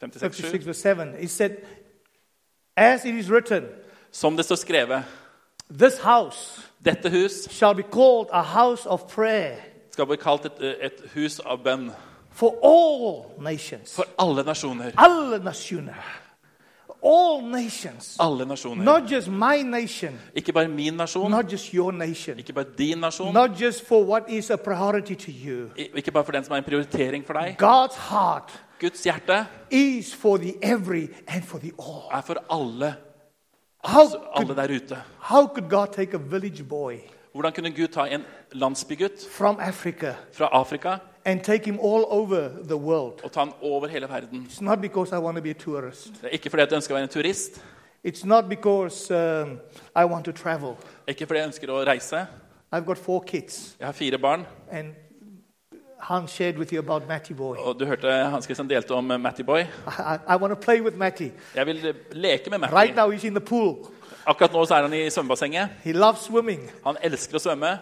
Speaker 3: 56,
Speaker 2: 56, 7.
Speaker 3: verse 7. He said, As it is written,
Speaker 2: Som det står skrevet,
Speaker 3: this house
Speaker 2: dette hus
Speaker 3: shall be called a house of prayer
Speaker 2: skal bli kalt et, et hus av bønn
Speaker 3: for all nations.
Speaker 2: for alle nasjoner.
Speaker 3: Alle nationer. All nations.
Speaker 2: Alle nasjoner.
Speaker 3: Not just my nation,
Speaker 2: Ikke bare min nasjon,
Speaker 3: not just your nation,
Speaker 2: ikke bare din nasjon,
Speaker 3: not just for what is a priority to you.
Speaker 2: i- ikke bare for den som er en prioritering for deg.
Speaker 3: God's heart
Speaker 2: Guds hjerte
Speaker 3: is for the every and for the all.
Speaker 2: er for alle,
Speaker 3: How
Speaker 2: alle
Speaker 3: could,
Speaker 2: der ute.
Speaker 3: how could God take a village boy
Speaker 2: Hvordan kunne Gud ta en landsbygutt
Speaker 3: from Africa
Speaker 2: fra Afrika
Speaker 3: and take him all over the world?
Speaker 2: og ta han over hele verden?
Speaker 3: It's not because I want to be a tourist.
Speaker 2: Det er ikke fordi jeg ønsker å være en turist,
Speaker 3: It's not because um, I want to travel.
Speaker 2: ikke fordi jeg ønsker å reise.
Speaker 3: I've got four kids,
Speaker 2: Jeg har fire barn,
Speaker 3: and Hans shared with you about Matty Boy.
Speaker 2: og du hørte Hans Christian delte om Matty Boy.
Speaker 3: I, I, I want to play with Matty.
Speaker 2: Jeg vil leke med
Speaker 3: Right
Speaker 2: Matty.
Speaker 3: now, he's in the pool.
Speaker 2: Akkurat nå så er han i svømmebassenget.
Speaker 3: He loves swimming.
Speaker 2: Han elsker å svømme.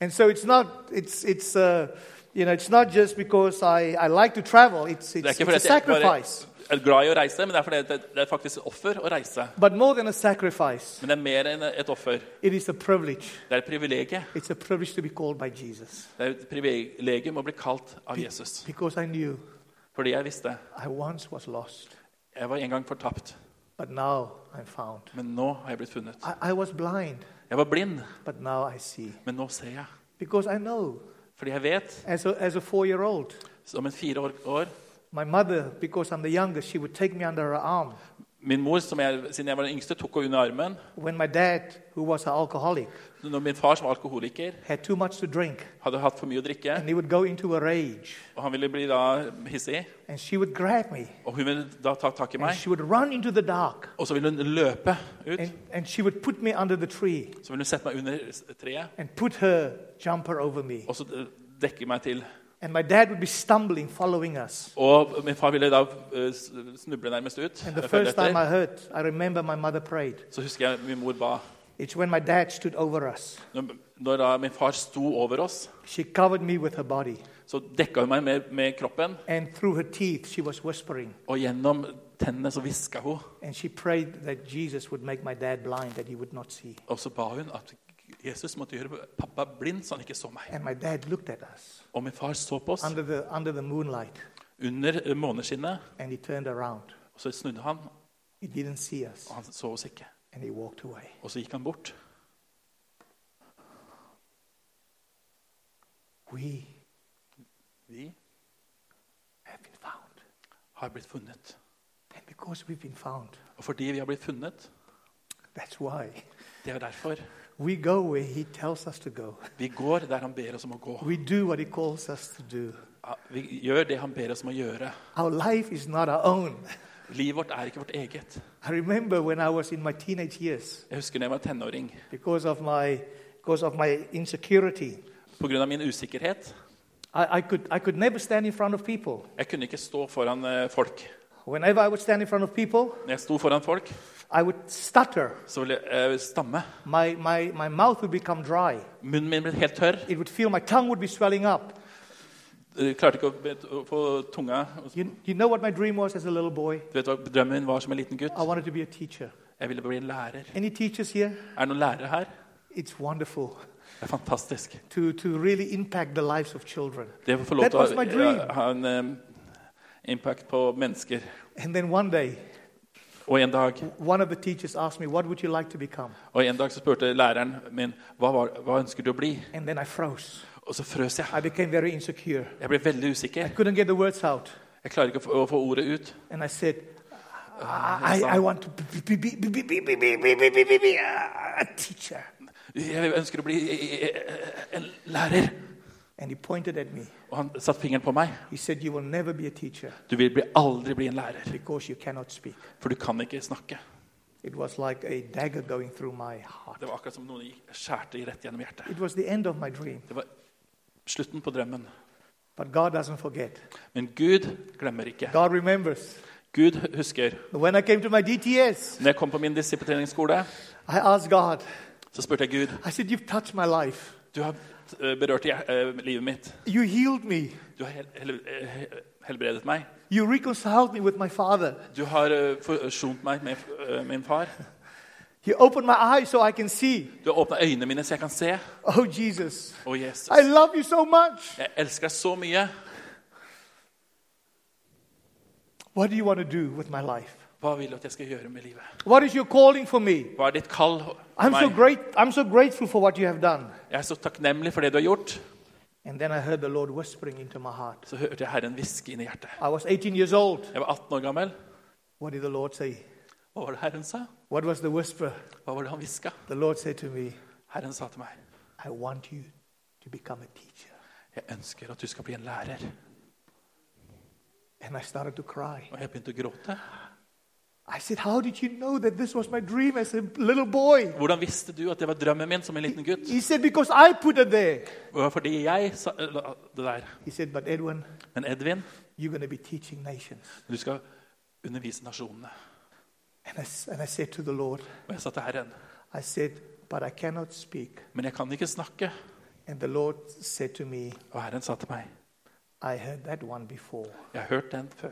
Speaker 3: And so it's not, it's, it's, uh, you know, it's not just because I, I like to travel, it's,
Speaker 2: Det er
Speaker 3: it's,
Speaker 2: ikke
Speaker 3: it's a
Speaker 2: fordi jeg bare
Speaker 3: sacrifice.
Speaker 2: er glad i å reise, men det er fordi det det er faktisk et offer å reise.
Speaker 3: But more than a sacrifice,
Speaker 2: Men det er mer enn et offer.
Speaker 3: it is a privilege.
Speaker 2: Det er et privilegium.
Speaker 3: It's a privilege to be called by Jesus.
Speaker 2: Det er et privilegium å bli kalt av Jesus.
Speaker 3: Because I knew
Speaker 2: Fordi jeg visste
Speaker 3: I once was lost,
Speaker 2: jeg var en gang fortapt,
Speaker 3: but now I'm found.
Speaker 2: men nå har jeg blitt funnet.
Speaker 3: I, I was blind,
Speaker 2: Jeg var blind,
Speaker 3: but now I see.
Speaker 2: men nå ser jeg.
Speaker 3: Because I know,
Speaker 2: Fordi jeg vet,
Speaker 3: as a, as a four year old,
Speaker 2: som en fire år, år
Speaker 3: my mother, because I'm the youngest, she would take me under her arm.
Speaker 2: Min mor, som jeg, siden jeg var den yngste, tok henne under armen.
Speaker 3: When my dad, who was an alcoholic,
Speaker 2: Når min far, som var alkoholiker,
Speaker 3: had too much to drink,
Speaker 2: hadde hatt for mye å drikke,
Speaker 3: and he would go into a rage,
Speaker 2: og han ville bli da hissig,
Speaker 3: and she would grab me,
Speaker 2: og hun ville da ta tak i
Speaker 3: and
Speaker 2: meg,
Speaker 3: she would run into the dark,
Speaker 2: og så ville hun løpe ut.
Speaker 3: and, and she would put me under the tree,
Speaker 2: Så ville hun sette meg under treet,
Speaker 3: and put her jumper over me.
Speaker 2: og så eh, dekke meg til.
Speaker 3: And my dad would be stumbling, following us.
Speaker 2: Og min far ville da eh, snuble nærmest ut.
Speaker 3: And the
Speaker 2: følge
Speaker 3: first time I heard, I remember my mother prayed.
Speaker 2: Så husker jeg min mor ba
Speaker 3: It's when my dad stood over us.
Speaker 2: Når, når da min far sto over oss,
Speaker 3: She covered me with her body,
Speaker 2: så dekka hun meg med, med kroppen,
Speaker 3: and through her teeth, she was whispering.
Speaker 2: og gjennom tennene så hviska hun.
Speaker 3: And she prayed that Jesus would make my dad blind, that he would not see.
Speaker 2: Og så ba hun at Jesus måtte gjøre pappa blind, så han ikke så meg.
Speaker 3: And my dad looked at us
Speaker 2: Og min far så på oss
Speaker 3: under the, under the moonlight,
Speaker 2: under eh, måneskinnet,
Speaker 3: and he turned around.
Speaker 2: og så snudde han,
Speaker 3: He didn't see us,
Speaker 2: og han så oss ikke.
Speaker 3: and he walked away.
Speaker 2: Og så gikk han bort.
Speaker 3: We
Speaker 2: Vi
Speaker 3: have been found.
Speaker 2: har blitt funnet.
Speaker 3: And because we've been found,
Speaker 2: Og fordi vi har blitt funnet,
Speaker 3: that's why
Speaker 2: det er derfor
Speaker 3: we go where he tells us to go.
Speaker 2: vi går der han ber oss om å gå.
Speaker 3: We do what he calls us to do.
Speaker 2: Ja, Vi gjør det han ber oss om å gjøre.
Speaker 3: Our life is not our own.
Speaker 2: Livet vårt er ikke vårt eget.
Speaker 3: I remember when I was in my teenage years,
Speaker 2: Jeg husker da jeg var tenåring.
Speaker 3: because of my, because of my insecurity,
Speaker 2: Pga. min usikkerhet.
Speaker 3: I, I, could, I could never stand in front of people.
Speaker 2: Jeg kunne ikke stå foran eh, folk.
Speaker 3: Whenever I would stand in front of people,
Speaker 2: Når jeg sto foran folk,
Speaker 3: I would stutter.
Speaker 2: så ville jeg eh, stamme.
Speaker 3: My, my, my mouth would become dry.
Speaker 2: Munnen min ble helt tørr.
Speaker 3: It would feel my tongue would be swelling up.
Speaker 2: Jeg klarte ikke å, bet- å få tunga
Speaker 3: You, you know what my dream was as a little boy?
Speaker 2: Du vet hva drømmen min var som en liten gutt?
Speaker 3: I wanted to be a teacher.
Speaker 2: Jeg ville bli en lærer.
Speaker 3: Any teachers here?
Speaker 2: Er det noen lærere her?
Speaker 3: It's wonderful
Speaker 2: Det er fantastisk.
Speaker 3: to, to really impact the lives of children.
Speaker 2: Det å få lov
Speaker 3: That
Speaker 2: til
Speaker 3: was my
Speaker 2: å
Speaker 3: dream.
Speaker 2: ha- ha en eh, impact på mennesker.
Speaker 3: And then one day,
Speaker 2: Og en dag,
Speaker 3: one of the teachers asked me, What would you like to become?
Speaker 2: og en dag så spurte læreren min hva, var, hva ønsker du å bli.
Speaker 3: And then I froze.
Speaker 2: Og så frøs jeg.
Speaker 3: I became very insecure.
Speaker 2: Jeg ble veldig
Speaker 3: I
Speaker 2: usikker.
Speaker 3: couldn't get the words out.
Speaker 2: Jeg klarer ikke å få- å få ordet ut.
Speaker 3: And I said, I, I, I want to be, be, be, be, be, be, be, be, be, be, be, be a a teacher.
Speaker 2: Jeg ønsker å bli eh, en lærer.
Speaker 3: And he pointed at me.
Speaker 2: Og han satte fingeren på meg.
Speaker 3: He said, You will never be a teacher
Speaker 2: Du vil bli, aldri bli en lærer,
Speaker 3: because you cannot speak.
Speaker 2: for du kan ikke snakke.
Speaker 3: It was like a dagger going through my heart.
Speaker 2: Det var akkurat som noen gikk- skjærte i rett gjennom hjertet.
Speaker 3: It was the end of my dream.
Speaker 2: Det var slutten på drømmen.
Speaker 3: But God doesn't forget,
Speaker 2: Men Gud glemmer ikke.
Speaker 3: God remembers.
Speaker 2: Gud husker.
Speaker 3: When I came to my DTS,
Speaker 2: Når jeg kom på min disippeltreningsskole,
Speaker 3: I asked God,
Speaker 2: så spurte jeg Gud
Speaker 3: I said, You've touched my life.
Speaker 2: Du har eh, berørt hjer- eh, livet mitt.
Speaker 3: You healed me.
Speaker 2: Du har hel hel eh, helbredet meg.
Speaker 3: You reconciled me with my father.
Speaker 2: Du har eh, forsont meg med eh, min far.
Speaker 3: You opened my eyes so I can see.
Speaker 2: Du har åpna øynene mine så jeg kan se.
Speaker 3: Oh, Jesus,
Speaker 2: Å, Jesus.
Speaker 3: I love you so much.
Speaker 2: Jeg elsker deg så mye.
Speaker 3: What do you want to do with my life?
Speaker 2: Hva vil du at jeg skal gjøre med livet?
Speaker 3: What is your calling for me?
Speaker 2: Hva er ditt kall? for
Speaker 3: I'm so
Speaker 2: meg?
Speaker 3: great. I'm so grateful for what you have done.
Speaker 2: Jeg er så takknemlig for det du har gjort.
Speaker 3: And then I heard the Lord whispering into my heart.
Speaker 2: Så hørte jeg Herren hviske inn i hjertet.
Speaker 3: I was 18 years old.
Speaker 2: Jeg var 18 år gammel.
Speaker 3: What did the Lord say?
Speaker 2: Hva var det Herren sa?
Speaker 3: What was the whisper?
Speaker 2: Hva var det han hviska?
Speaker 3: The Lord said to me,
Speaker 2: Herren sa til meg,
Speaker 3: I want you to become a teacher.
Speaker 2: jeg ønsker at du skal bli en lærer.
Speaker 3: And I started to cry.
Speaker 2: Og jeg begynte å gråte.
Speaker 3: I said, How did you know that this was my dream as a little boy?
Speaker 2: Hvordan visste du at det var drømmen min som en liten gutt?
Speaker 3: He said, Because I put it there.
Speaker 2: Det var fordi jeg sa la- det der.
Speaker 3: He said, But Edwin,
Speaker 2: Men Edvin,
Speaker 3: you're going to be teaching nations.
Speaker 2: du skal undervise nasjonene.
Speaker 3: And I, s- and I said to the Lord,
Speaker 2: Og jeg sa til Herren,
Speaker 3: I said, But I cannot speak.
Speaker 2: men jeg kan ikke snakke.
Speaker 3: And the Lord said to me,
Speaker 2: Og Herren sa til meg,
Speaker 3: I heard that one before.
Speaker 2: jeg har hørt den før.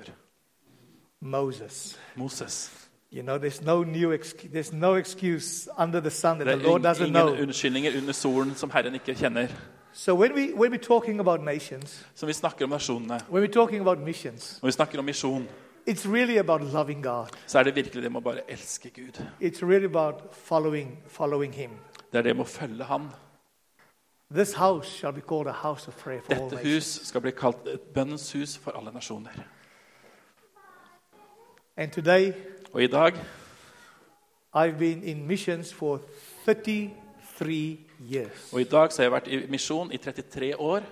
Speaker 3: Moses.
Speaker 2: Moses.
Speaker 3: You know, there's no new exc- there's no excuse under the sun that
Speaker 2: Det
Speaker 3: the
Speaker 2: er
Speaker 3: Lord
Speaker 2: ing-
Speaker 3: doesn't
Speaker 2: ingen
Speaker 3: know.
Speaker 2: unnskyldninger under solen som Herren ikke kjenner.
Speaker 3: So when we when we're talking about nations,
Speaker 2: Som vi snakker om nasjonene.
Speaker 3: when we're talking about missions,
Speaker 2: Når vi snakker om misjon,
Speaker 3: it's really about loving God.
Speaker 2: så er det virkelig det med å bare elske Gud.
Speaker 3: It's really about following following Him.
Speaker 2: Det er det med å følge Han.
Speaker 3: This house shall be called a house of prayer for all
Speaker 2: Dette
Speaker 3: nations.
Speaker 2: hus skal bli kalt et bønnens hus for alle nasjoner.
Speaker 3: And today,
Speaker 2: Og i dag
Speaker 3: I've been in missions for 33 years.
Speaker 2: og i dag så har jeg vært i misjon i 33 år.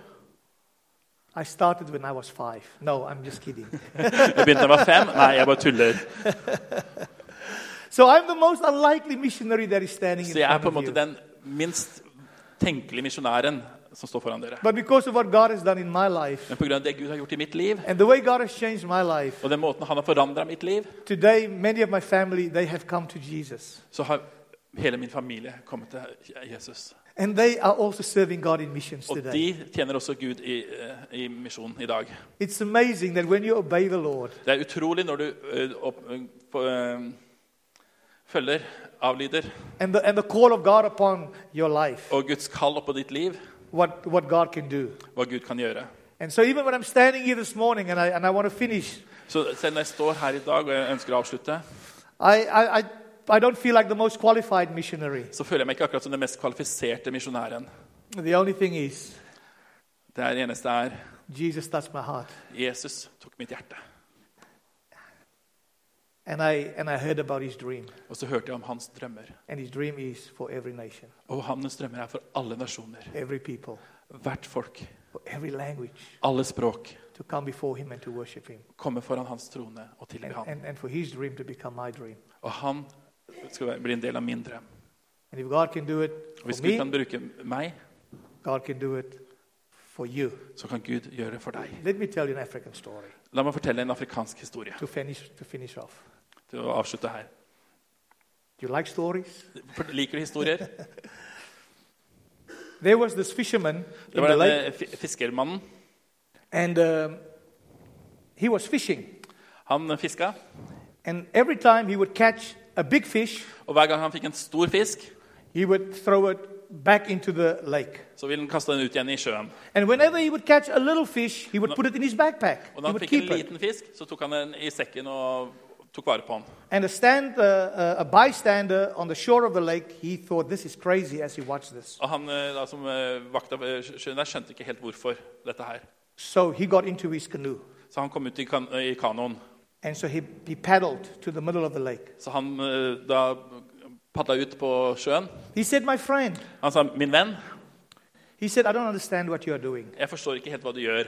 Speaker 3: I started when I was five. No, I'm just kidding.
Speaker 2: Jeg begynte da jeg var fem. Nei, jeg bare tuller.
Speaker 3: so I'm the most unlikely missionary that is standing
Speaker 2: Så
Speaker 3: in
Speaker 2: jeg er
Speaker 3: front
Speaker 2: på en
Speaker 3: of
Speaker 2: måte
Speaker 3: you.
Speaker 2: den minst tenkelige misjonæren som står foran dere.
Speaker 3: But because of what God has done in my life,
Speaker 2: Men pga. det Gud har gjort i mitt liv,
Speaker 3: And the way God has changed my life,
Speaker 2: og den måten Han har forandra mitt liv,
Speaker 3: today many of my family they have come to Jesus.
Speaker 2: så har hele min familie kommet til Jesus.
Speaker 3: And they are also serving God in missions
Speaker 2: Og
Speaker 3: today.
Speaker 2: de tjener også Gud i, eh, i misjon i dag.
Speaker 3: It's amazing that when you obey the Lord,
Speaker 2: Det er utrolig når du eh, opp, eh, på, eh, følger, avlyder,
Speaker 3: and the, and the call of God upon your life,
Speaker 2: og Guds kall oppå ditt liv,
Speaker 3: what, what God can do.
Speaker 2: hva Gud kan gjøre.
Speaker 3: And so even when I'm standing here this morning and I, and I want to finish,
Speaker 2: Så selv når jeg står her i dag og jeg ønsker å avslutte,
Speaker 3: I, I, I, I don't feel like the most qualified missionary.
Speaker 2: så føler jeg meg ikke akkurat som den mest kvalifiserte misjonæren.
Speaker 3: The only thing is,
Speaker 2: Det er det eneste er
Speaker 3: Jesus touched my heart.
Speaker 2: Jesus tok mitt hjerte.
Speaker 3: And I, and I heard about his dream.
Speaker 2: Og så hørte jeg om hans drømmer.
Speaker 3: And his dream is for every nation,
Speaker 2: Og hans drømmer er for alle nasjoner,
Speaker 3: every people,
Speaker 2: hvert folk,
Speaker 3: for every language.
Speaker 2: alle språk.
Speaker 3: to come before him and to worship him
Speaker 2: Komme foran hans trone og tilbe
Speaker 3: and,
Speaker 2: ham.
Speaker 3: and, and for his dream to become my dream.
Speaker 2: Og han skal være- bli en del av min drøm.
Speaker 3: And if God can do it
Speaker 2: Og hvis
Speaker 3: for
Speaker 2: Gud kan
Speaker 3: me,
Speaker 2: bruke meg,
Speaker 3: God can do it for you.
Speaker 2: så kan Gud gjøre det for deg.
Speaker 3: Let me tell you an African story
Speaker 2: La meg fortelle en afrikansk historie
Speaker 3: to finish, to finish off.
Speaker 2: til å avslutte her.
Speaker 3: Do you like stories?
Speaker 2: For- Liker du historier?
Speaker 3: There was this fisherman
Speaker 2: Det
Speaker 3: in
Speaker 2: var
Speaker 3: the
Speaker 2: denne
Speaker 3: lake,
Speaker 2: fi- fiskermannen.
Speaker 3: and um, he was fishing.
Speaker 2: Han fiska,
Speaker 3: And every time he would catch a big fish,
Speaker 2: og hver gang han fikk en stor fisk,
Speaker 3: he would throw it back into the lake.
Speaker 2: Så ville han kaste den ut igjen i sjøen.
Speaker 3: And whenever he would catch a little fish, he would put it in his backpack.
Speaker 2: Og
Speaker 3: He
Speaker 2: da han
Speaker 3: would
Speaker 2: fikk en
Speaker 3: keep it.
Speaker 2: liten fisk, så tok han den i sekken og tok vare på den.
Speaker 3: And a, stand, uh, uh, a bystander on the shore of the lake, he thought this is crazy as he watched this.
Speaker 2: Og han eh, da, som eh, vakta eh, sjøen der, skjønte ikke helt hvorfor dette her.
Speaker 3: So he got into his canoe.
Speaker 2: Så han kom ut i, kan i kanoen.
Speaker 3: And so he, he paddled to the middle of the lake.
Speaker 2: Så han eh, da padla ut på sjøen.
Speaker 3: He said, My friend,
Speaker 2: Han sa, 'Min venn,
Speaker 3: he said, I don't understand what you are doing.
Speaker 2: jeg forstår ikke helt hva du gjør.'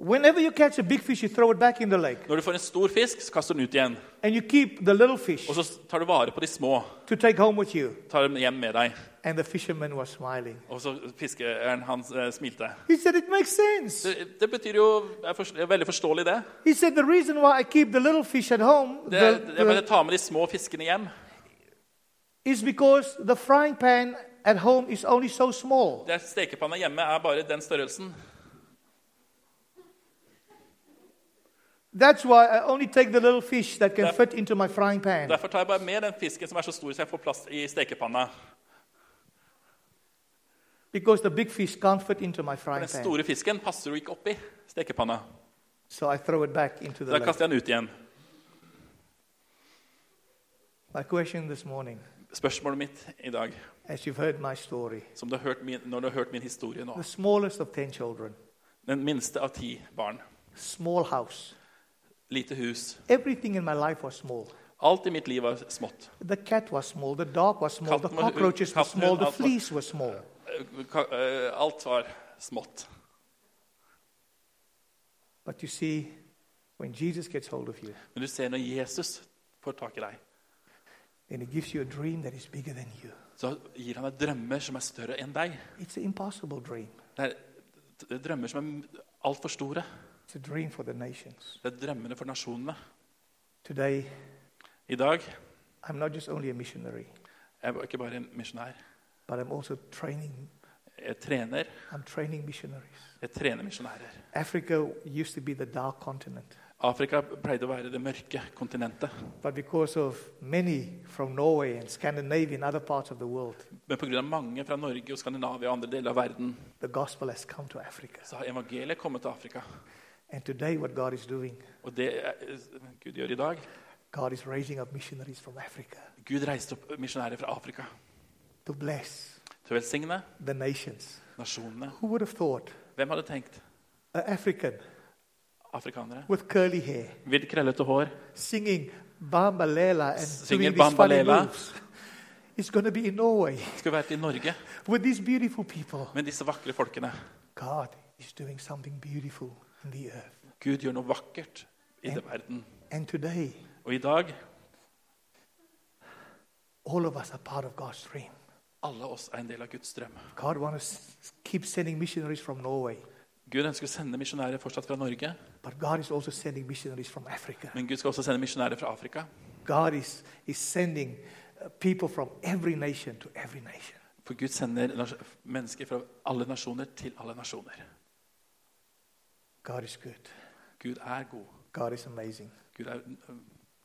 Speaker 3: Whenever you catch a big fish, you throw it back in the lake.
Speaker 2: Når du får en stor fisk, så kaster du den ut igjen.
Speaker 3: And you keep the little fish
Speaker 2: Og så tar du vare på de små.
Speaker 3: to take home with you.
Speaker 2: Tar dem hjem med deg.
Speaker 3: And the fisherman was smiling.
Speaker 2: Og så fiskeren hans eh, smilte.
Speaker 3: He said, It makes sense.
Speaker 2: Det, det betyr jo er forst- er veldig forståelig, det.
Speaker 3: He said, The reason why I keep the little fish at home
Speaker 2: det er,
Speaker 3: the-
Speaker 2: jeg bare
Speaker 3: the-
Speaker 2: tar med de små fiskene hjem.
Speaker 3: is because the frying pan at home is only so small.
Speaker 2: Det er- Stekepanna hjemme er bare den størrelsen.
Speaker 3: That's why I only take the little fish that can
Speaker 2: That-
Speaker 3: fit into my frying pan.
Speaker 2: Derfor tar jeg bare med den fisken som er så stor så jeg får plass i stekepanna.
Speaker 3: Because the big fish can't fit into my frying
Speaker 2: Den
Speaker 3: pan.
Speaker 2: store fisken passer jo ikke oppi stekepanna.
Speaker 3: So I throw it back
Speaker 2: Da
Speaker 3: into the lake.
Speaker 2: kaster jeg den ut igjen.
Speaker 3: My question this morning,
Speaker 2: Spørsmålet mitt i dag,
Speaker 3: as you've heard my story,
Speaker 2: som du har hørt min, når du har hørt min historie nå
Speaker 3: the smallest of 10 children,
Speaker 2: Den minste av ti barn.
Speaker 3: small house.
Speaker 2: Lite hus.
Speaker 3: Everything in my life was small.
Speaker 2: Alt i mitt liv var smått.
Speaker 3: The cat was small, the dog was small, the
Speaker 2: Katten was-
Speaker 3: cockroaches were
Speaker 2: katten
Speaker 3: small, the
Speaker 2: was-
Speaker 3: fleas were small.
Speaker 2: Eh, ka- eh, Alt var smått.
Speaker 3: But you see, when Jesus gets hold of you,
Speaker 2: Men du ser når Jesus får tak i deg,
Speaker 3: then he gives you a dream that is bigger than you.
Speaker 2: så gir han deg drømmer som er større enn deg.
Speaker 3: It's an impossible dream.
Speaker 2: Det er d- drømmer som er altfor store.
Speaker 3: It's a dream for the nations.
Speaker 2: Det er drømmene for nasjonene.
Speaker 3: Today,
Speaker 2: I dag
Speaker 3: I'm not just only a missionary,
Speaker 2: er jeg ikke bare en misjonær.
Speaker 3: but I'm also training.
Speaker 2: Jeg trener.
Speaker 3: I'm training missionaries.
Speaker 2: Jeg trener misjonærer.
Speaker 3: Africa used to be the dark continent,
Speaker 2: Afrika pleide å være det mørke kontinentet.
Speaker 3: but because of many from Norway and Scandinavia and other parts of the world,
Speaker 2: Men pga. mange fra Norge og Skandinavia og andre deler av verden
Speaker 3: the gospel has come to Africa.
Speaker 2: så har evangeliet kommet til Afrika.
Speaker 3: And today, what God is doing,
Speaker 2: Og det er- eh, Gud gjør i dag
Speaker 3: God is raising up missionaries from Africa
Speaker 2: Gud reiste opp misjonærer fra Afrika
Speaker 3: to bless
Speaker 2: til å velsigne
Speaker 3: the nations.
Speaker 2: nasjonene.
Speaker 3: Who would have thought
Speaker 2: Hvem hadde tenkt?
Speaker 3: an African
Speaker 2: Afrikanere.
Speaker 3: with curly hair
Speaker 2: Vidt krellete hår.
Speaker 3: singing Bambalela and
Speaker 2: Singing
Speaker 3: doing these funny
Speaker 2: Bambalela.
Speaker 3: moves is going to be in Norway
Speaker 2: Skulle vært i Norge
Speaker 3: with these beautiful people.
Speaker 2: med disse vakre folkene.
Speaker 3: God is doing something beautiful in the earth.
Speaker 2: Gud gjør noe vakkert i den verden.
Speaker 3: And today,
Speaker 2: Og i dag
Speaker 3: all of us are part of God's dream.
Speaker 2: alle oss er en del av Guds drøm.
Speaker 3: God wants to keep sending missionaries from Norway,
Speaker 2: Gud ønsker å sende misjonærer fortsatt fra Norge,
Speaker 3: but God is also sending missionaries from Africa.
Speaker 2: men Gud skal også sende misjonærer fra Afrika.
Speaker 3: God is, is sending uh, people from every nation to every nation.
Speaker 2: For Gud sender nas- mennesker fra alle nasjoner til alle nasjoner.
Speaker 3: God is good.
Speaker 2: Gud er god.
Speaker 3: God is amazing.
Speaker 2: Gud er øh,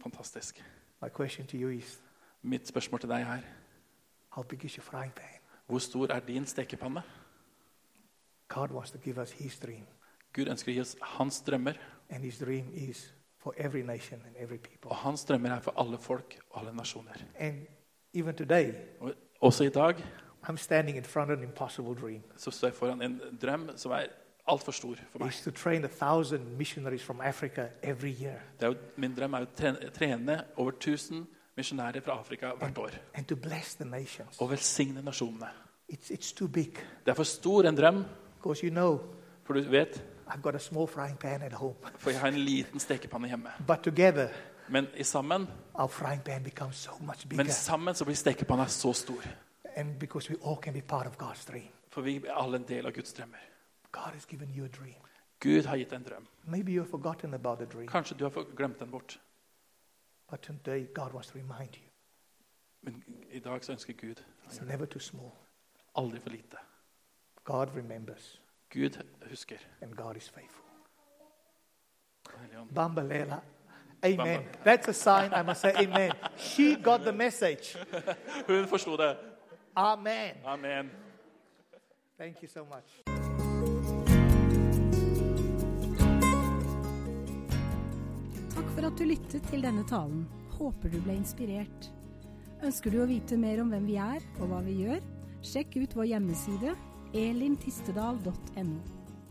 Speaker 2: fantastisk.
Speaker 3: My question to you is
Speaker 2: Mitt spørsmål til deg er
Speaker 3: how big is your frying pan?
Speaker 2: hvor stor er din stekepanne?
Speaker 3: God wants to give us his dream,
Speaker 2: Gud ønsker å gi oss hans drømmer,
Speaker 3: and his dream is for every nation and every people.
Speaker 2: og hans drømmer er for alle folk og alle nasjoner.
Speaker 3: And even today,
Speaker 2: Og også i dag
Speaker 3: I'm standing in front of an impossible dream.
Speaker 2: så står jeg foran en drøm som er altfor stor for meg.
Speaker 3: It's to train a thousand missionaries from Africa every year
Speaker 2: Det er jo, min drøm er å trene, trene over 1000 misjonærer fra Afrika hvert år.
Speaker 3: and to bless the nations.
Speaker 2: Og velsigne nasjonene.
Speaker 3: It's, it's too big
Speaker 2: Det er for stor en drøm,
Speaker 3: because you know
Speaker 2: for du vet
Speaker 3: I've got a small frying pan at home.
Speaker 2: For jeg har en liten stekepanne hjemme.
Speaker 3: But together,
Speaker 2: Men i sammen
Speaker 3: our frying pan becomes so much bigger.
Speaker 2: Men sammen så blir stekepanna så stor.
Speaker 3: And because we all can be part of God's dream,
Speaker 2: For vi er alle en del av Guds drømmer.
Speaker 3: God has given you a dream.
Speaker 2: Gud har gitt deg en drøm.
Speaker 3: Maybe you've forgotten about the dream,
Speaker 2: Kanskje du har fått- glemt den bort.
Speaker 3: but today God wants to remind you
Speaker 2: Men i dag så ønsker Gud
Speaker 3: it's never too small.
Speaker 2: aldri for lite.
Speaker 3: God remembers,
Speaker 2: Gud husker.
Speaker 3: and God is faithful.
Speaker 2: Hellige Ånd.
Speaker 3: Bambalela. Amen. That's a sign I must say amen. She got the message.
Speaker 2: Hun forsto det.
Speaker 3: Amen.
Speaker 2: Amen.
Speaker 3: Thank you so much.
Speaker 1: Takk for at du lyttet til denne talen. Håper du ble inspirert. Ønsker du å vite mer om hvem vi er og hva vi gjør? Sjekk ut vår hjemmeside elintistedal.no.